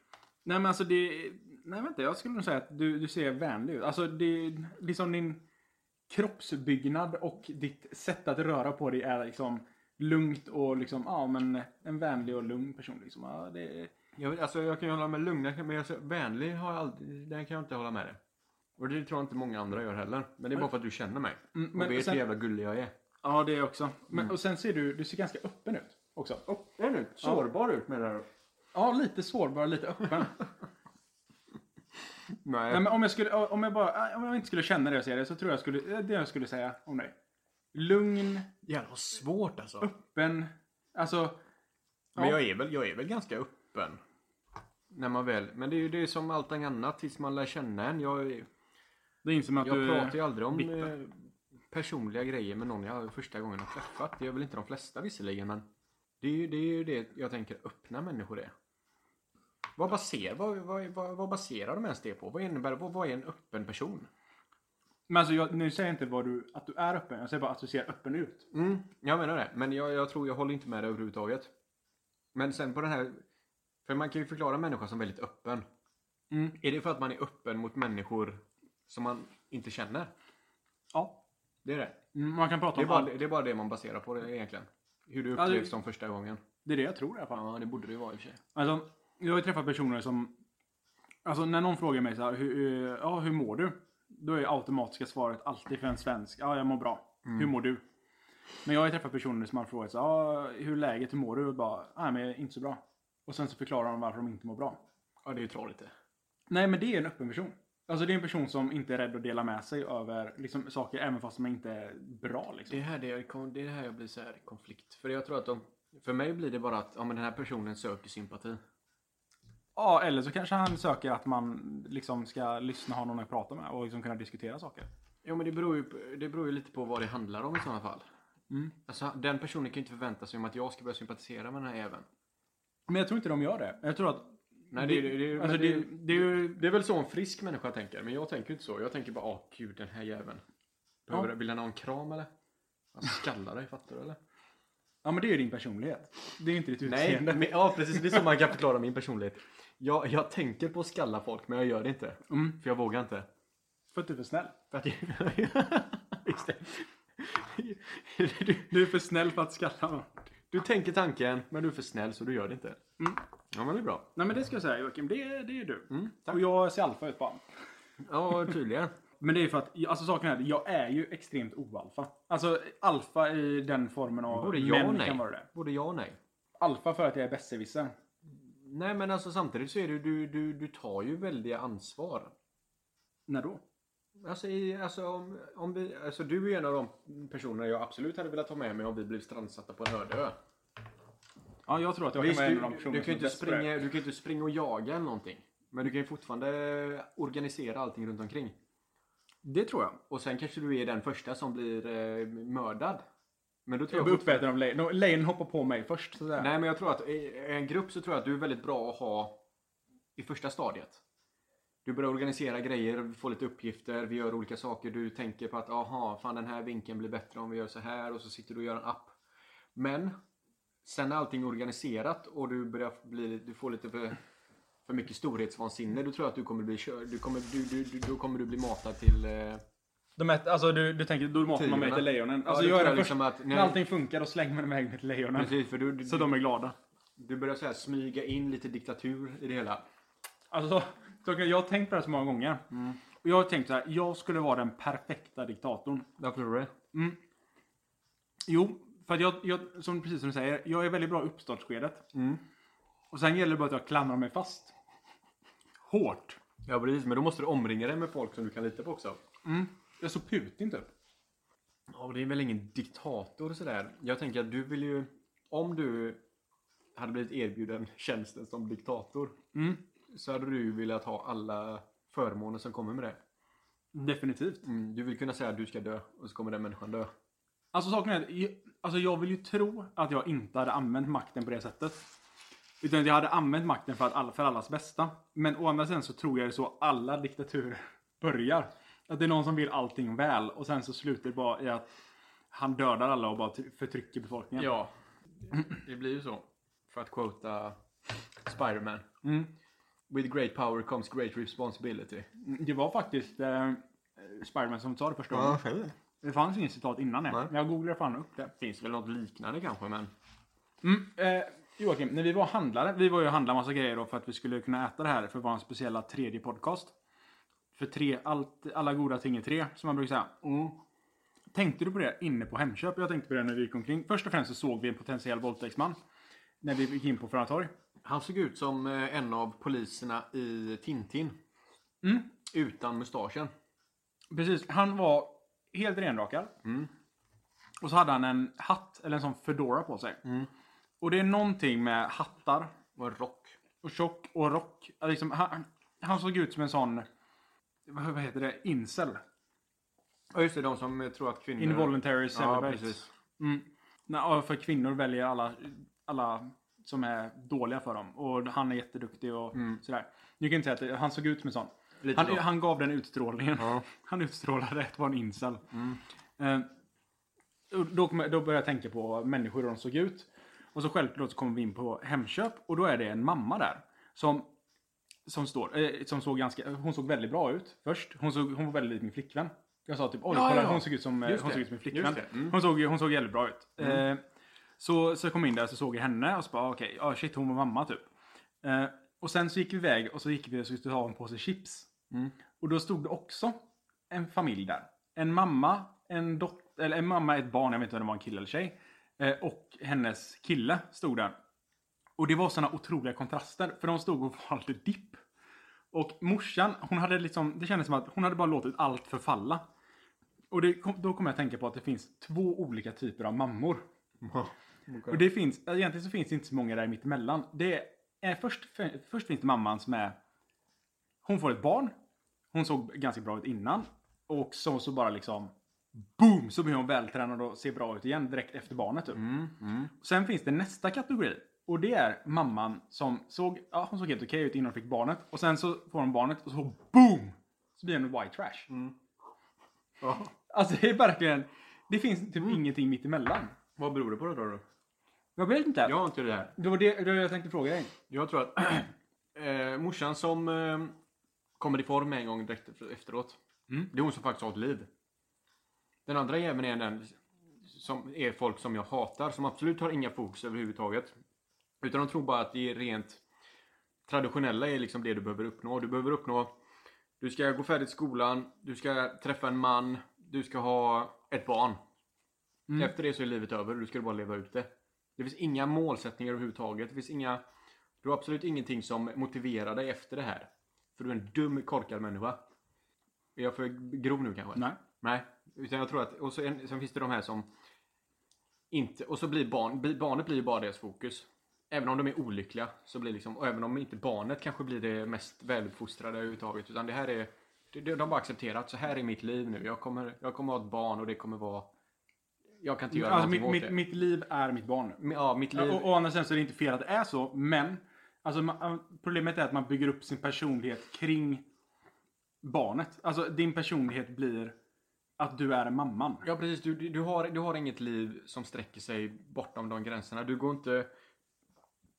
Nej men alltså det... Nej vänta, jag skulle nog säga att du, du ser vänlig ut. Alltså det, liksom din kroppsbyggnad och ditt sätt att röra på dig är liksom lugnt och liksom, ja men en vänlig och lugn person liksom. Ja, det, Jag, vet- alltså, jag kan ju hålla med lugna, men jag, ser- vänlig har jag aldrig, den kan jag inte hålla med dig. Och det tror jag inte många andra gör heller. Men det är bara för att du känner mig. Mm, och men vet sen- hur jävla gullig jag är. ja det är också. Men, Och sen ser du, du ser ganska öppen ut också. Öppen ut? Sårbar ut menar du? Ja, lite sårbar, lite öppen. Nej. nej men om jag skulle, om jag bara, om jag inte skulle känna det och säga det så tror jag skulle, det jag skulle säga om dig. Lugn, Jävlar vad svårt alltså. öppen, alltså. Men ja. jag är, väl, jag är väl ganska öppen. När man väl, men det är ju det är som allt annat tills man lär känna en. Jag, är- Det inser man att jag du... pratar ju aldrig om bitter. eh, personliga grejer med någon jag första gången har träffat. Det gör väl inte de flesta visserligen men det är ju det, är ju det jag tänker öppna människor är. Vad, baser, vad, vad, vad, vad baserar de ens det på? Vad innebär vad, vad är en öppen person? Men alltså jag, nu säger jag inte vad du, att du är öppen, jag säger bara att du ser öppen ut. Mm, jag menar det. Men jag, jag tror jag håller inte med det överhuvudtaget. Men sen på den här... För man kan ju förklara människan som väldigt öppen. Är det för att man är öppen mot människor som man inte känner? Ja. Det är det. Mm, man kan prata Det är, om bara, allt. det är bara det man baserar på det egentligen. Hur du Ja, det- upplevs som första gången. Det är det jag tror i alla fall. Ja, det borde det ju vara i och för sig. Alltså, jag har ju träffat personer som... Alltså när någon frågar mig så här, hur, eh, ja, hur mår du? Då är ju automatiska svaret alltid för en svensk, ja jag mår bra. Mm. Hur mår du? Men jag har ju träffat personer som har frågat så här, ja, hur är läget, hur mår du? Och bara, nej men inte så bra. Och sen så förklarar de varför de inte mår bra. Ja, det är ju tråkigt det. Nej men det är en öppen person. Alltså det är en person som inte är rädd att dela med sig över liksom, saker även fast de inte är bra liksom. Det är här, det jag, kom- det är här jag blir så här i konflikt. För jag tror att de... För mig blir det bara att ja, men den här personen söker sympati. Ja, eller så kanske han söker att man liksom ska lyssna, ha någon att prata med och liksom kunna diskutera saker. Ja, men det beror, ju, på- det beror ju lite på vad det handlar om i sådana fall. Mm. Alltså, den personen kan ju inte förvänta sig om att jag ska börja sympatisera med den här även. Men jag tror inte de gör det. Jag tror att... Nej, det, det, det, alltså, men det, det är ju... Det är väl så en frisk människa tänker, men jag tänker inte så. Jag tänker bara, åh gud den här jäveln. Behöver, Ja. Vill han ha en kram eller? Han skallar dig, fattar du eller? Ja, men det är ju din personlighet. Det är ju inte ditt Nej, utseende. men, ja precis. Det är så man kan förklara min personlighet. Jag, jag tänker på att skalla folk, men jag gör det inte. Mm. För jag vågar inte. För att du är för snäll. För att Visst det. Du, Du är för snäll för att skratta. va? du tänker tanken, men du är för snäll så du gör det inte. Mm. Ja, men det är bra. Nej men det ska jag säga Joakim, det, det är du. Mm, tack. Och jag ser alfa ut bara. Ja, tydligen. Men det är för att, alltså saken är, jag är ju extremt oalfa. Alltså alfa i den formen av Både ja och män nej. kan vara det. Både ja och nej. Alfa för att jag är besserwisser. Nej, men alltså samtidigt så är du, du, du, du tar ju väldiga ansvar. När då? Alltså, i, alltså, om, om vi, alltså du är en av de personerna jag absolut hade velat ha med mig om vi blev strandsatta på en öde ö. Ja, jag tror att jag Visst, kan du, vara en av de personerna du, kan som är ju inte bäst på det. springa, du kan ju inte springa och jaga eller någonting. Men du kan ju fortfarande organisera allting runt omkring. Det tror jag. Och sen kanske du är den första som blir eh, mördad. Men då tror Jag jag, blir fortfarande- uppäten av lejon. De- Lejon hoppar på mig först. Så att säga. Nej, men jag tror att i i en grupp så tror jag att du är väldigt bra att ha i första stadiet. Du börjar organisera grejer, får lite uppgifter, vi gör olika saker. Du tänker på att aha, fan den här vinkeln blir bättre om vi gör så här och så sitter du och gör en app. Men sen är allting organiserat och du börjar bli, du får lite för, för mycket storhetsvansinne. Då tror jag att du kommer bli körd. Du kommer, du, du, du, då kommer du bli matad till... Eh, De äter, alltså du, du tänker, då matar man mig Tigrarna. till lejonen. Ja, Alltså då jag är tror jag den liksom första. att- nej. När allting funkar då slänger man iväg mig till lejonen. precis, för du, du, Så de är glada. du börjar så här, smyga in lite diktatur i det hela. Alltså, så, jag har tänkt på det här så många gånger. Och jag har tänkt så här, jag skulle vara den perfekta diktatorn. Varför tror du det? Jo, för att jag, jag som, precis som du säger, jag är väldigt bra i uppstartsskedet. Mm. Och sen gäller det bara att jag klamrar mig fast. Hårt. Ja precis, men då måste du omringa dig med folk som du kan lita på också. Jag är så Putin typ. Ja, och det är väl ingen diktator sådär. Jag tänker att du vill ju... Om du hade blivit erbjuden tjänsten som diktator Mm. så hade du ju velat ha alla förmåner som kommer med det. Definitivt. Mm, du vill kunna säga att du ska dö och så kommer den människan dö. Alltså saken är att jag- alltså, jag vill ju tro att jag inte hade använt makten på det sättet. Utan att jag hade använt makten för, att alla, för allas bästa. Men å andra sidan så tror jag det är så alla diktaturer börjar. Att det är någon som vill allting väl och sen så slutar det bara i att han dödar alla och bara ty- förtrycker befolkningen. Ja, det blir ju så. För att quota Spiderman. Mm. With great power comes great responsibility. Det var faktiskt eh, Spiderman som sa det första gången. Det fanns inget citat innan det. Nej. Men jag googlade fan upp det. Finns väl något liknande kanske, men... Mm. Eh, Joakim, när vi var handlare, vi var ju och handlade massa grejer då för att vi skulle kunna äta det här för vår speciella tredje podcast. För tre, allt, alla goda ting är tre, som man brukar säga. Mm. Tänkte du på det inne på Hemköp? Jag tänkte på det när vi gick omkring. Först och främst så såg vi en potentiell våldtäktsman. När vi gick in på Fröna torg. Han såg ut som eh, en av poliserna i Tintin. Mm. Utan mustaschen. Precis, han var helt renrakad. Mm. Och så hade han en hatt, eller en sån fedora på sig. Mm. Och det är någonting med hattar Och en rock. och tjock och rock. Ja, Liksom, han, han såg ut som en sån, vad vad heter det, incel. Ja just det, de som eh, tror att kvinnor... Involuntary Ja, celibate. precis. Mm. Nej, och för kvinnor väljer alla, alla som är dåliga för dem. Och han är jätteduktig och Mm. sådär. Nu kan jag inte säga att det- han såg ut som en sån. Lite Han, så. han gav den utstrålningen. Ja. Han utstrålade att vara en incel. Mm. Eh, och då, kom, jag- då började jag tänka på människor och hur de såg ut. Och så självklart så kommer vi in på Hemköp och då är det en mamma där. Som, som, står, eh, som såg ganska, hon såg väldigt bra ut först. Hon, såg, hon var väldigt lik min flickvän. Jag sa typ oj Ja, kolla ja, ja. hon såg ut som, eh, Just hon det. såg ut som min flickvän. Just det. Mm. Hon, såg, hon såg väldigt bra ut. Eh, så, så jag kom in där så såg jag henne och så bara okej, ja shit hon var mamma typ. Eh, och sen så gick vi iväg och så gick vi och så skulle ha en påse chips. Mm. Och då stod det också en familj där. En mamma, en dotter, eller en mamma, ett barn, jag vet inte om det var en kille eller tjej. eh, Och hennes kille stod där. Och det var såna otroliga kontraster, för de stod och valde dipp. Och morsan, hon hade liksom, det kändes som att hon hade bara låtit allt förfalla. Och det kom, då kom jag att tänka på att det finns två olika typer av mammor. Och det finns, egentligen så finns det inte så många där mittemellan. Det är, först, för, först finns det mamman som är... Hon får ett barn. Hon såg ganska bra ut innan. Och så, så bara liksom... Boom! Så blir hon vältränad och ser bra ut igen direkt efter barnet. Typ. Mm, mm. Sen finns det nästa kategori. Och det är mamman som såg, ja, hon såg helt okej ut innan hon fick barnet. Och sen så får hon barnet och så BOOM! Så blir hon white trash. Ja. Alltså det är verkligen... Det finns typ ingenting mittemellan. Vad beror det på då tror du? Jag vet inte. Jag har inte det här. Det var det, det var det jag tänkte fråga dig. Jag tror att eh, morsan som eh, kommer i form en gång direkt efter- efteråt. Mm. Det är hon som faktiskt har ett liv. Den andra jäveln är den som är folk som jag hatar, som absolut har inga fokus överhuvudtaget. Utan de tror bara att det är rent traditionella är liksom det du behöver uppnå. Du behöver uppnå, du ska gå färdigt skolan, du ska träffa en man, du ska ha ett barn. Mm. Efter det så är livet över och du ska bara leva ut det. Det finns inga målsättningar överhuvudtaget. Det finns inga... Du har absolut ingenting som motiverar dig efter det här. För du är en dum, korkad människa. Är jag för grov nu kanske? Nej. Nej. Utan jag tror att... Och så en, sen finns det de här som... Inte... Och så blir barn, bli- barnet blir ju bara deras fokus. Även om de är olyckliga så blir liksom... Och även om inte barnet kanske blir det mest väluppfostrade överhuvudtaget. Utan det här är... det- det- De bara accepterar att så här är mitt liv nu. Jag kommer, jag kommer ha ett barn och det kommer vara... Jag kan inte göra Alltså, någonting mitt, åt mitt, det. mitt liv är mitt barn nu. Ja, mitt liv. Ja, och, och annars så är det inte fel att det är så, men alltså, man, problemet är att man bygger upp sin personlighet kring barnet. Alltså din personlighet blir att du är mamman. Ja precis, du, du, du har, du har inget liv som sträcker sig bortom de gränserna. Du går inte...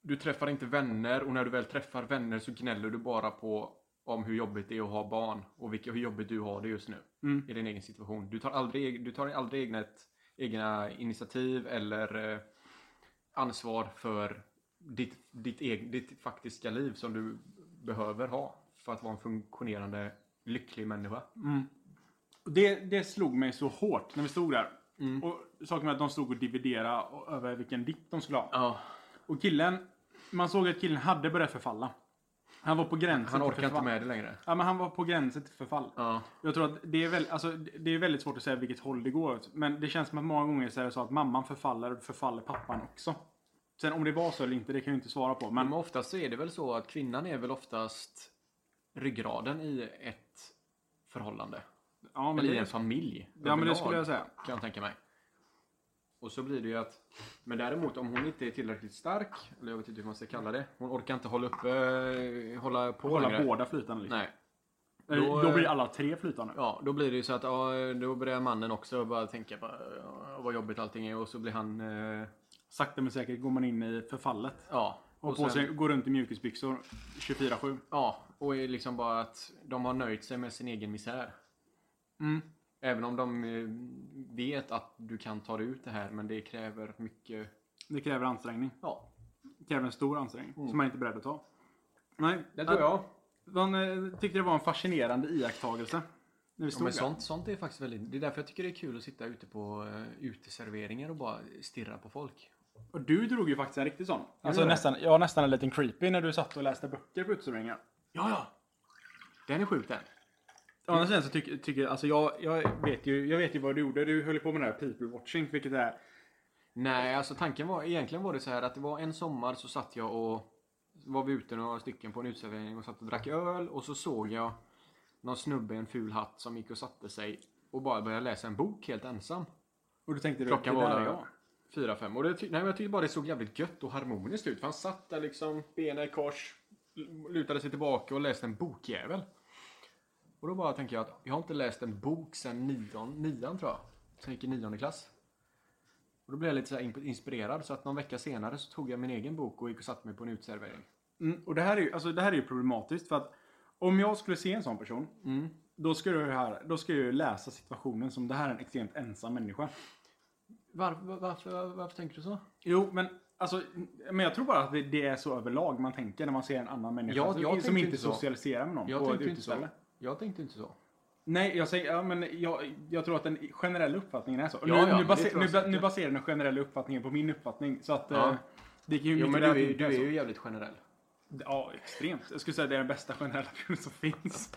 Du träffar inte vänner och när du väl träffar vänner så gnäller du bara på om hur jobbigt det är att ha barn och vilka, hur jobbigt du har det just nu Mm. i din egen situation. Du tar aldrig, du tar aldrig egna, egna initiativ eller eh, ansvar för ditt, ditt, eg, ditt faktiska liv som du behöver ha för att vara en funktionerande, lycklig människa. Mm. Och Det, det slog mig så hårt när vi stod där. Och saken var att de stod och dividerade o- över vilken dipp de skulle ha. Ja, Och killen, man såg att killen hade börjat förfalla. Han var på gränsen han till orkar inte förfall. med det längre. Ja, men han var på gränsen till förfall. Ja. Jag tror att det är, väl, alltså, det är väldigt svårt att säga vilket håll det går åt. Men det känns som att många gånger så är det så att mamman förfaller och förfaller pappan också. Sen om det var så eller inte, det kan jag ju inte svara på. Men Men oftast så är det väl så att kvinnan är väl oftast ryggraden i ett förhållande. ja, men Eller i det, en familj. ja, men det överlag, skulle jag säga. Kan jag tänka mig. Och så blir det ju att... Men däremot om hon inte är tillräckligt stark, eller jag vet inte hur man ska kalla det. Hon orkar inte hålla uppe... Hålla på Hålla längre. båda flytande. Liksom. Nej. Eller, Då, Då, eh, blir alla tre flytande. Ja, då blir det ju så att ja, då börjar mannen också bara tänka på ja, vad jobbigt allting är och så blir han... eh, Sakta men säkert går man in i förfallet. Ja. Och, på sen- sig, går runt i mjukisbyxor 24-7. Ja, och är liksom bara att de har nöjt sig med sin egen misär. Mm. Även om de eh, vet att du kan ta dig ut det här, men det kräver mycket... Det kräver ansträngning. Ja, Det kräver en stor ansträngning som man inte är beredd att ta. Nej, Mm. det tror jag. Man eh, tyckte det var en fascinerande iakttagelse. När vi Ja, stod men där. sånt, sånt är faktiskt väldigt... Det är därför jag tycker det är kul att sitta ute på uh, uteserveringar och bara stirra på folk. Och du drog ju faktiskt en riktig sån. Alltså gjorde det. nästan, jag var nästan en liten creepy när du satt och läste böcker på uteserveringar. Ja, ja! Den är sjuk den. Annars sen så tycker tycker- alltså jag, jag, vet ju, jag vet ju vad du gjorde. Du höll ju på med det här people watching, vilket är... Nej, alltså tanken var... Egentligen var det så här att det var en sommar så satt jag och... Var vi ute några stycken på en uteservering och satt och drack öl och så såg jag någon snubbe i en ful hatt som gick och satte sig och bara började läsa en bok helt ensam. Och du tänkte du, Klockan det var där är där. jag. Fyra, fem. Och det ty- nej, men jag tyckte bara det såg jävligt gött och harmoniskt ut. För han satt där liksom, benen i kors, l- lutade sig tillbaka och läste en bokjävel. Och då bara tänker jag att jag har inte läst en bok sedan nion, nian tror jag. Sen jag gick i nionde klass. Och då blev jag lite så här imp- inspirerad så att någon vecka senare så tog jag min egen bok och gick och satte mig på en uteservering. Mm, och det här, är ju, alltså, det här är ju problematiskt för att om jag skulle se en sån person, Mm. då skulle jag, ju här, då skulle jag ju läsa situationen som det här är en extremt ensam människa. Var, var, varför, varför tänker du så? Jo, men alltså, men jag tror bara att det, det är så överlag man tänker när man ser en annan människa Alltså, Ja, som- jag som tänkte inte inte så. socialiserar med någon Jag på ett tänkte, inte så. uteställe. jag tänkte inte så. Nej, jag, säger, ja, men jag, jag tror att den generella uppfattningen är så. Ja, nu, ja, men nu, det tror baser, jag nu, ba- säkert. nu baserar den generella uppfattningen på min uppfattning. Så att, Ja. eh, det kan ju Jo, mycket men väl du, är, att det ju- inte du är är så. ju jävligt generell. Ja, extremt. Jag skulle säga att det är den bästa generella personen som finns.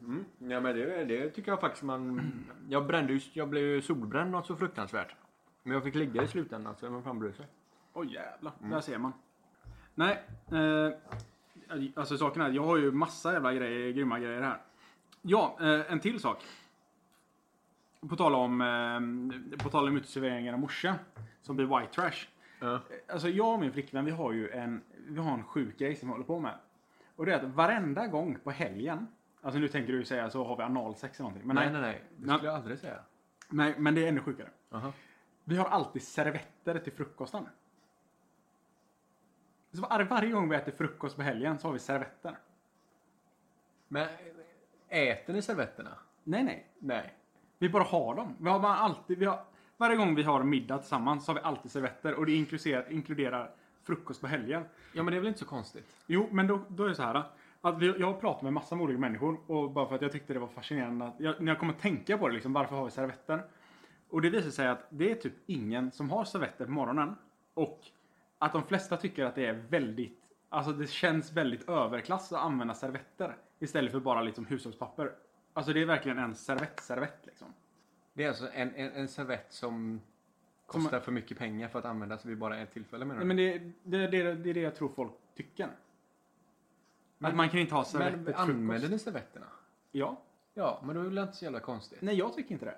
Mm. Ja men det, det tycker jag faktiskt man... Jag brände ju, jag blev ju solbränd något så fruktansvärt. Men jag fick ligga i alltså, slutändan så man frambrusar. Oj jävlar, där ser man. Nej, eh, alltså saken är, jag har ju massa jävla grejer, grymma grejer här. Ja, eh, en till sak. På tal om, eh, på tal om uteserveringar och morsa, som blir white trash. Ja. Alltså jag och min flickvän, vi har ju en, vi har en sjuk grej som vi håller på med. Och det är att varenda gång på helgen, alltså nu tänker du ju säga så har vi analsex eller någonting. Men nej, Nej nej nej, det Nej. skulle jag aldrig säga. nej, men det är ännu sjukare. Aha. Vi har alltid servetter till frukosten. Så var, varje gång vi äter frukost på helgen så har vi servetter. Men Äter ni servetterna? Nej, nej. Nej. Vi bara har dem. Vi har bara alltid, vi har, varje gång vi har middag tillsammans så har vi alltid servetter och det inkluderar, inkluderar frukost på helgen. Ja, men det är väl inte så konstigt? Jo, men då, då är det så här. Att vi, jag har pratat med massor av olika människor och bara för att jag tyckte det var fascinerande att jag, när jag kom att tänka på det liksom, varför har vi servetter? Och det visar sig att det är typ ingen som har servetter på morgonen och att de flesta tycker att det är väldigt, alltså det känns väldigt överklass att använda servetter istället för bara liksom hushållspapper. Alltså det är verkligen en servett-servett liksom. Det är alltså en, en, en servett som kostar för mycket pengar för att användas vid bara ett tillfälle menar Nej, du? men det, det, det, det är det jag tror folk tycker. att man kan inte ha servetter men till använder frukost. ni servetterna? Ja. Ja, men då är det väl inte så jävla konstigt? Nej, jag tycker inte det.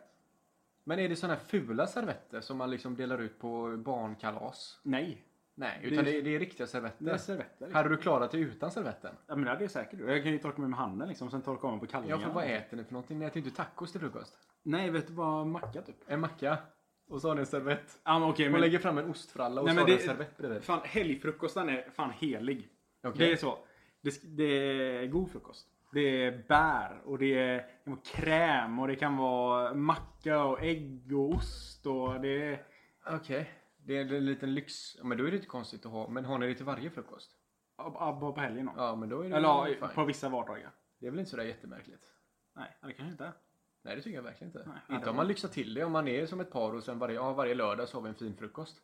Men är det sådana här fula servetter som man liksom delar ut på barnkalas? Nej. Nej, Det- utan det, är- det är riktiga servetter. Det är servetter. Liksom. Hade du klarat dig utan servetten? Ja, men det hade jag säkert gjort. Jag kan ju torka mig med handen liksom, sen torka av mig på Ja, kallingarna. för vad äter ni för någonting? Ni äter ju inte tacos till frukost. Nej, vet du vad? Macka typ. En macka. Och så har ni en servett. Ja, men okej. Man men... lägger fram en ostfralla och Nej, så men har ni en det- servett bredvid. Fan, helgfrukosten är fan helig. Okej. Det är så. Det, sk- det är god frukost. Det är bär och det, är, det kan vara kräm och det kan vara macka och ägg och ost och det är... Okej. Det är en liten lyx. Ja, Men då är det inte konstigt att ha. Men har ni det till varje frukost? ja, Bara på helgen då. Ja, men då är det Eller ja, fine. på vissa vardagar. Det är väl inte sådär jättemärkligt? Nej, det kanske inte är. Nej, det tycker jag verkligen inte. Nej, inte det om var- man lyxar till det. Om man är som ett par och sen varje, ja, varje lördag så har vi en fin frukost.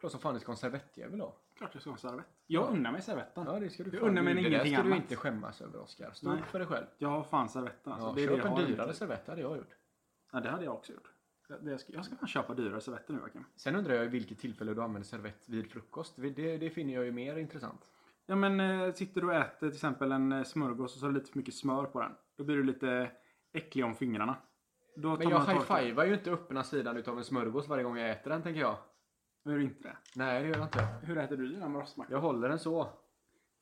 Klart som fan det ska vara en servettjävel då. Klart jag ska ha en servett. Jag unnar mig servetten. Ja, det ska du Jag fan- unnar mig det där ingenting ska du annat. inte skämmas över Oskar. Stå Nej. upp för dig själv. Jag har fan servetten. Alltså. Ja, det är det köp jag en har. dyrare servett, det hade jag gjort. Ja, det hade jag också gjort. Det- det ska- Jag ska fan köpa dyrare servetter nu, Joakim. Sen undrar jag i vilket tillfälle du använder servett vid frukost. Det, det finner jag ju mer intressant. Ja, men eh, sitter du och äter till exempel en eh, smörgås och så har du lite för mycket smör på den. Då blir du lite äcklig om fingrarna. Då tar Men jag man torka- high-fivar ju inte öppna sidan utav en smörgås varje gång jag äter den, tänker jag. Gör du inte det? Nej, det gör jag inte. Hur äter du dina rostmackor? Jag håller den så.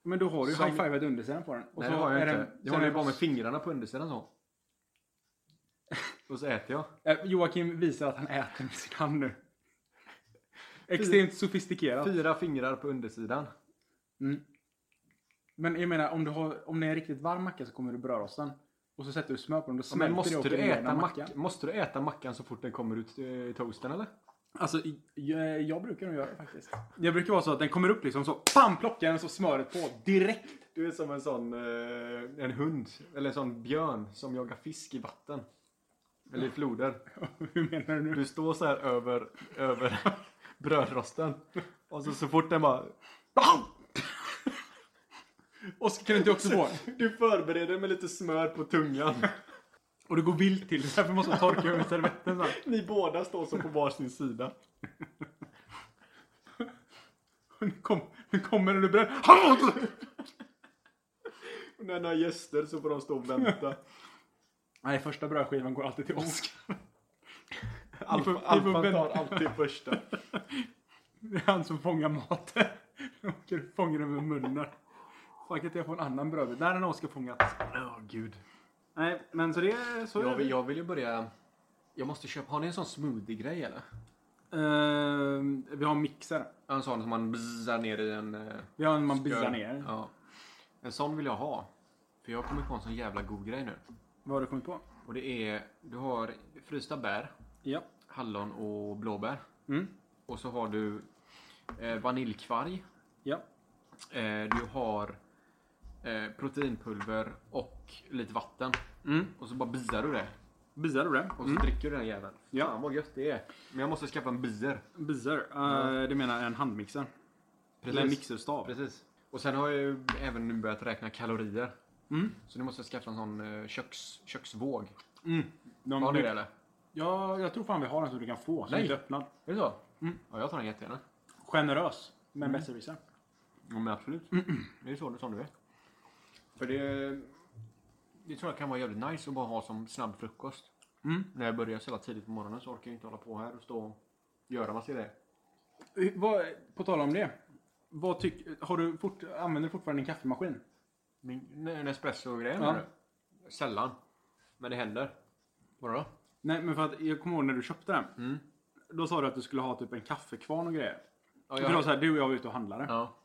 Men då har du ju Som- high-fivat undersidan på den. Och Nej, så det har jag är inte. den- jag sen håller är ju bara med rost- fingrarna på undersidan så. Och så äter jag. Eh, Joakim visar att han äter med sin hand nu. Extremt sofistikerat. Fyra fingrar på undersidan. Mm. Men jag menar, om, du har, om det är en riktigt varm macka så kommer du brödrosten. Och så sätter du smör på den. Då smälter Men det och måste du, åker ner äta den mackan? måste du äta mackan så fort den kommer ut i toasten eller? Alltså, i- jag, jag brukar nog göra det faktiskt. Jag brukar vara så att den kommer upp liksom så. Pam! Plockar den så smöret på direkt. Du är som en sån eh, en hund, eller en sån björn som jagar fisk i vatten. Eller i floder. Hur menar du nu? Du står så här över, över brödrosten. Och så, så fort den bara... Bam! Och så kan du inte också få Du förbereder med lite smör på tungan. Och du går vilt till. Så därför måste man torka över servetten så här. Ni båda står så på varsin sida. Nu, kom, nu kommer den du bröd. Och när ni har gäster så får de stå och vänta. Nej, första brödskivan går alltid till Oskar. Ni får- ni Alfa, får alfan vänta. tar alltid första. Det är han som fångar maten. Han åker- fångar den med munnen. Fuck att jag får en annan brödbit. Där har Oskar fångat. Åh gud. Nej, men så det... Så Jag är det. vill, jag vill ju börja... Jag måste köpa... Har ni en sån smoothie-grej eller? Ehm, vi har en mixer. En sån som man bzzar ner i en... eh, Vi har en man skål. bizzar ner. Ja. En sån vill jag ha. För jag kommer på en sån jävla god grej nu. Vad har du kommit på? Och det är... Du har frysta bär, Ja. hallon och blåbär. Mm. Och så har du eh, vaniljkvarg. Ja. Eh, du har eh, proteinpulver och lite vatten. Mm. Och så bara biar du det. Bizar du det? Och så dricker du den jäveln. Mm. Ja. Fan vad gött det är. Men jag måste skaffa en bier. Bizar? Eh, det menar en handmixer. Eller en mixerstav. Precis. Och sen har jag ju även nu börjat räkna kalorier. Mm. Så nu måste jag skaffa en sån eh, köks, köksvåg. Mm. De, Har ni det eller? Ja, jag tror fan vi har en som du kan få. Som Nej. inte är öppnad. Är det så? Mm. Ja, jag tar den jättegärna. Generös. Men Mm. besserwisser. Ja, men absolut. Det är så, som du är. För det... Det tror jag kan vara jävligt nice att bara ha som snabb frukost. Mm. När jag börjar så jävla tidigt på morgonen så orkar jag inte hålla på här och stå och göra massa grejer. Eh, Vad, på tal om det. Vad tyck, har du fort, använder du fortfarande din kaffemaskin? Min, en espresso och grejer Ja. menar du? Sällan. Men det händer. Vadå? Nej, men för att jag kommer ihåg när du köpte den. Mm. Då sa du att du skulle ha typ en kaffekvarn och grejer. Ja, För jag, då så här, du och jag var ute och handlade. ja.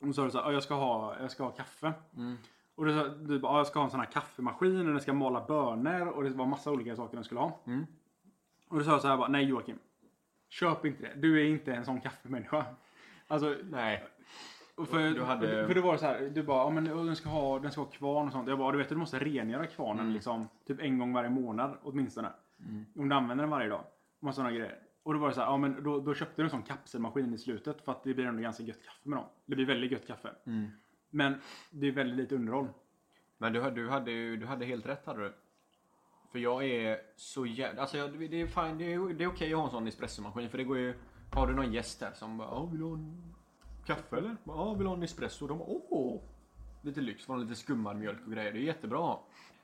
Och så sa du så här, "Ja, jag ska ha, jag ska ha kaffe. Mm. Och då sa du bara, "Ja, jag ska ha en sån här kaffemaskin och den ska mala bönor och det var massa olika saker den skulle ha. Mm. Och då sa jag så här bara, nej Joakim. Köp inte det. Du är inte en sån kaffemänniska. Alltså, Nej. och för, Du hade- för, för det var så här, du bara, ja men och den ska ha, den ska ha kvarn och sånt. Jag bara, du vet du måste rengöra kvarnen Mm. liksom. Typ en gång varje månad åtminstone. Om du använder den varje dag. Och massa sådana grejer. Och då var det så här, ja men då, då köpte du en sån kapselmaskin i slutet. För att det blir ändå ganska gött kaffe med dem. Det blir väldigt gött kaffe. Mm. Men det är väldigt lite underhåll. Men du, du, hade, ju- du hade helt rätt hade du. För jag är så jävla... Alltså jag, det är, fine, det är, det är okej att ha en sån espressomaskin för det går ju... Har du någon gäst där som bara "Ja, vill du ha en kaffe eller? Ja, vill du ha en espresso? De bara, åh! Lite lyx, var lite skummad mjölk och grejer. Det är jättebra.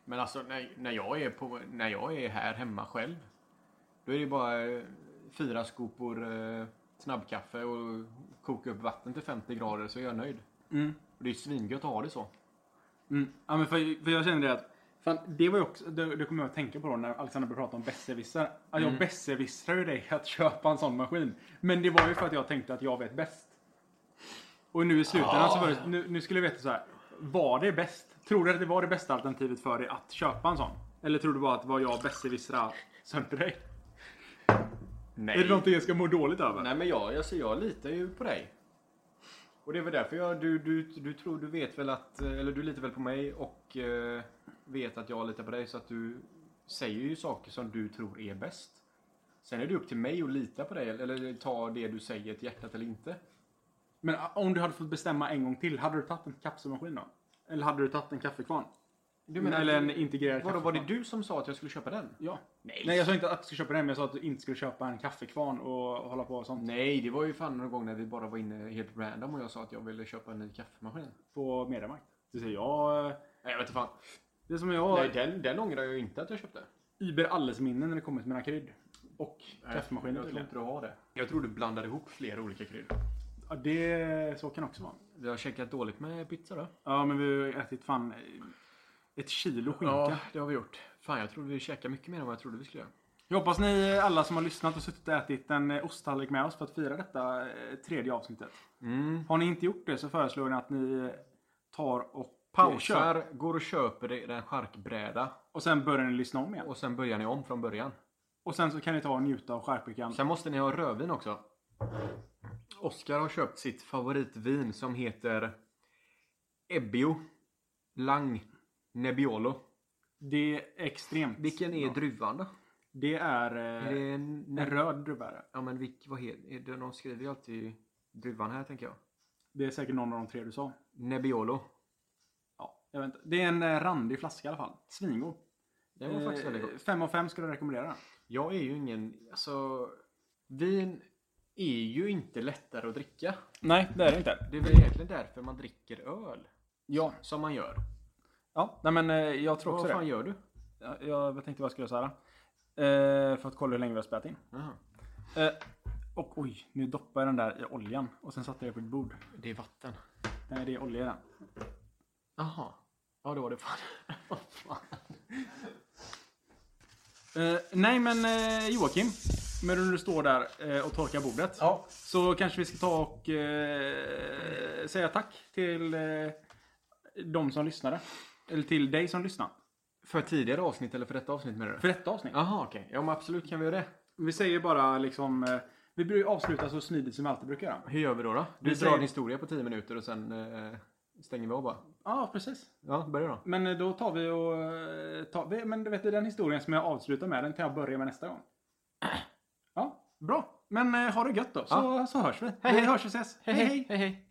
Men alltså när, när, jag är på, när jag är här hemma själv. Då är det ju bara eh, fyra skopor eh, snabbkaffe och koka upp vatten till 50 grader så är jag nöjd. Mm. Och det är svingött att ha det så. Mm. Ja, men för, för jag känner det att fan, det var ju också, det, det kommer jag att tänka på då när Alexander började prata om besserwisser. Att Mm. jag besserwissrar ju dig att köpa en sån maskin. Men det var ju för att jag tänkte att jag vet bäst. Och nu i slutändan Ah. så var det, nu, nu skulle jag veta så här. Var det bäst? Tror du att det var det bästa alternativet för dig att köpa en sån? Eller tror du bara att det var jag besserwissrar sönder dig? Nej. Är det någonting jag ska må dåligt över? Nej men jag, alltså, jag litar ju på dig. Och det är väl därför jag, du, du, du tror, du vet väl att, eh, eller du litar väl på mig och eh, vet att jag litar på dig så att du säger ju saker som du tror är bäst. Sen är det upp till mig att lita på dig eller- eller ta det du säger till hjärtat eller inte. Men ä, om du hade fått bestämma en gång till, hade du tagit en kapselmaskin då? Eller hade du tagit en kaffekvarn? Du menar- Eller en integrerad Vadå, var det kaffekvarn? du som sa att jag skulle köpa den? Ja. Nej, jag sa inte att du skulle köpa den, men jag sa att du inte skulle köpa en kaffekvarn och hålla på och sånt Nej, det var ju fan någon gång när vi bara var inne helt random och jag sa att jag ville köpa en ny kaffemaskin. på Mediamarkt. Du säger jag... eh, Nej, jag vet inte fan. Det är som jag... Nej, den, den ångrar jag ju inte att jag köpte. Iber allesminnen när det kommer till mina krydd. Och Kaffemaskinen kaffemaskiner jag tror tydligen. inte du har det. Jag tror du blandar ihop flera olika kryddor. Ja, det... Så kan det också vara. Vi har käkat dåligt med pizza då. Ja, men vi har ju ätit fan eh, ett kilo skinka. det har vi gjort. Fan, jag trodde vi käkade mycket mer än vad jag trodde vi skulle göra. Jag hoppas ni eh, alla som har lyssnat och suttit och ätit en eh, osttallrik med oss för att fira detta eh, tredje avsnittet. Mm. Har ni inte gjort det så föreslår jag att ni eh, tar och köper. Pausar, går och köper en charkbräda Och sen börjar ni lyssna om igen. och sen börjar ni om från början. Och sen så kan ni ta och njuta av skärpickan. Sen måste ni ha rödvin också. Oskar har köpt sitt favoritvin som heter Ebbio Lang Nebbiolo. Det är extremt. Vilken är bra. druvan då? Det är Är eh, det en... en röd druvbärare. Ja men vilk, vad heter... är det- De skriver ju alltid druvan här tänker jag. Det är säkert någon av de tre du sa. Nebbiolo. Ja, jag vet inte. Det är en eh, randig flaska i alla fall. Svingod. Den var faktiskt väldigt god. 5 av 5 skulle jag rekommendera den. Jag är ju ingen... Alltså... Vin är ju inte lättare att dricka. Nej, det är det inte. Det är väl egentligen därför man dricker öl. Ja, Som man gör. ja nej, men eh, jag tror också Vad fan det. gör du? Ja, Jag, jag tänkte vad jag skulle säga. Eh, för att kolla hur länge vi har spelat in. Jaha. Eh, och oj, nu doppar jag den där i oljan. Och sen satte jag det på ett bord. Det är vatten. Nej, det är olja i den. Jaha. Ja, det var det fan. Vad fan. Eh, nej men eh, Joakim, medan du står där eh, och torkar bordet. Ja. Så kanske vi ska ta och eh, säga tack till eh, de som lyssnade. Eller till dig som lyssnade. För tidigare avsnitt eller för detta avsnitt menar du? För detta avsnitt. Jaha, okej. Ja, men absolut kan vi göra det. Vi säger bara liksom, eh, vi brukar avsluta så smidigt som vi alltid brukar göra. Hur gör vi då? då? Vi Du drar säger- en historia på 10 minuter och sen eh, stänger vi av bara. Ja, precis. Ja, börja då. Men eh, då tar vi och... eh, Tar, vi- men du vet, den historien som jag avslutar med, den kan jag börja med nästa gång. Ja, bra. Men eh, ha det gött då, så, så hörs vi. Hej, vi hej. hörs och ses. hej! hej.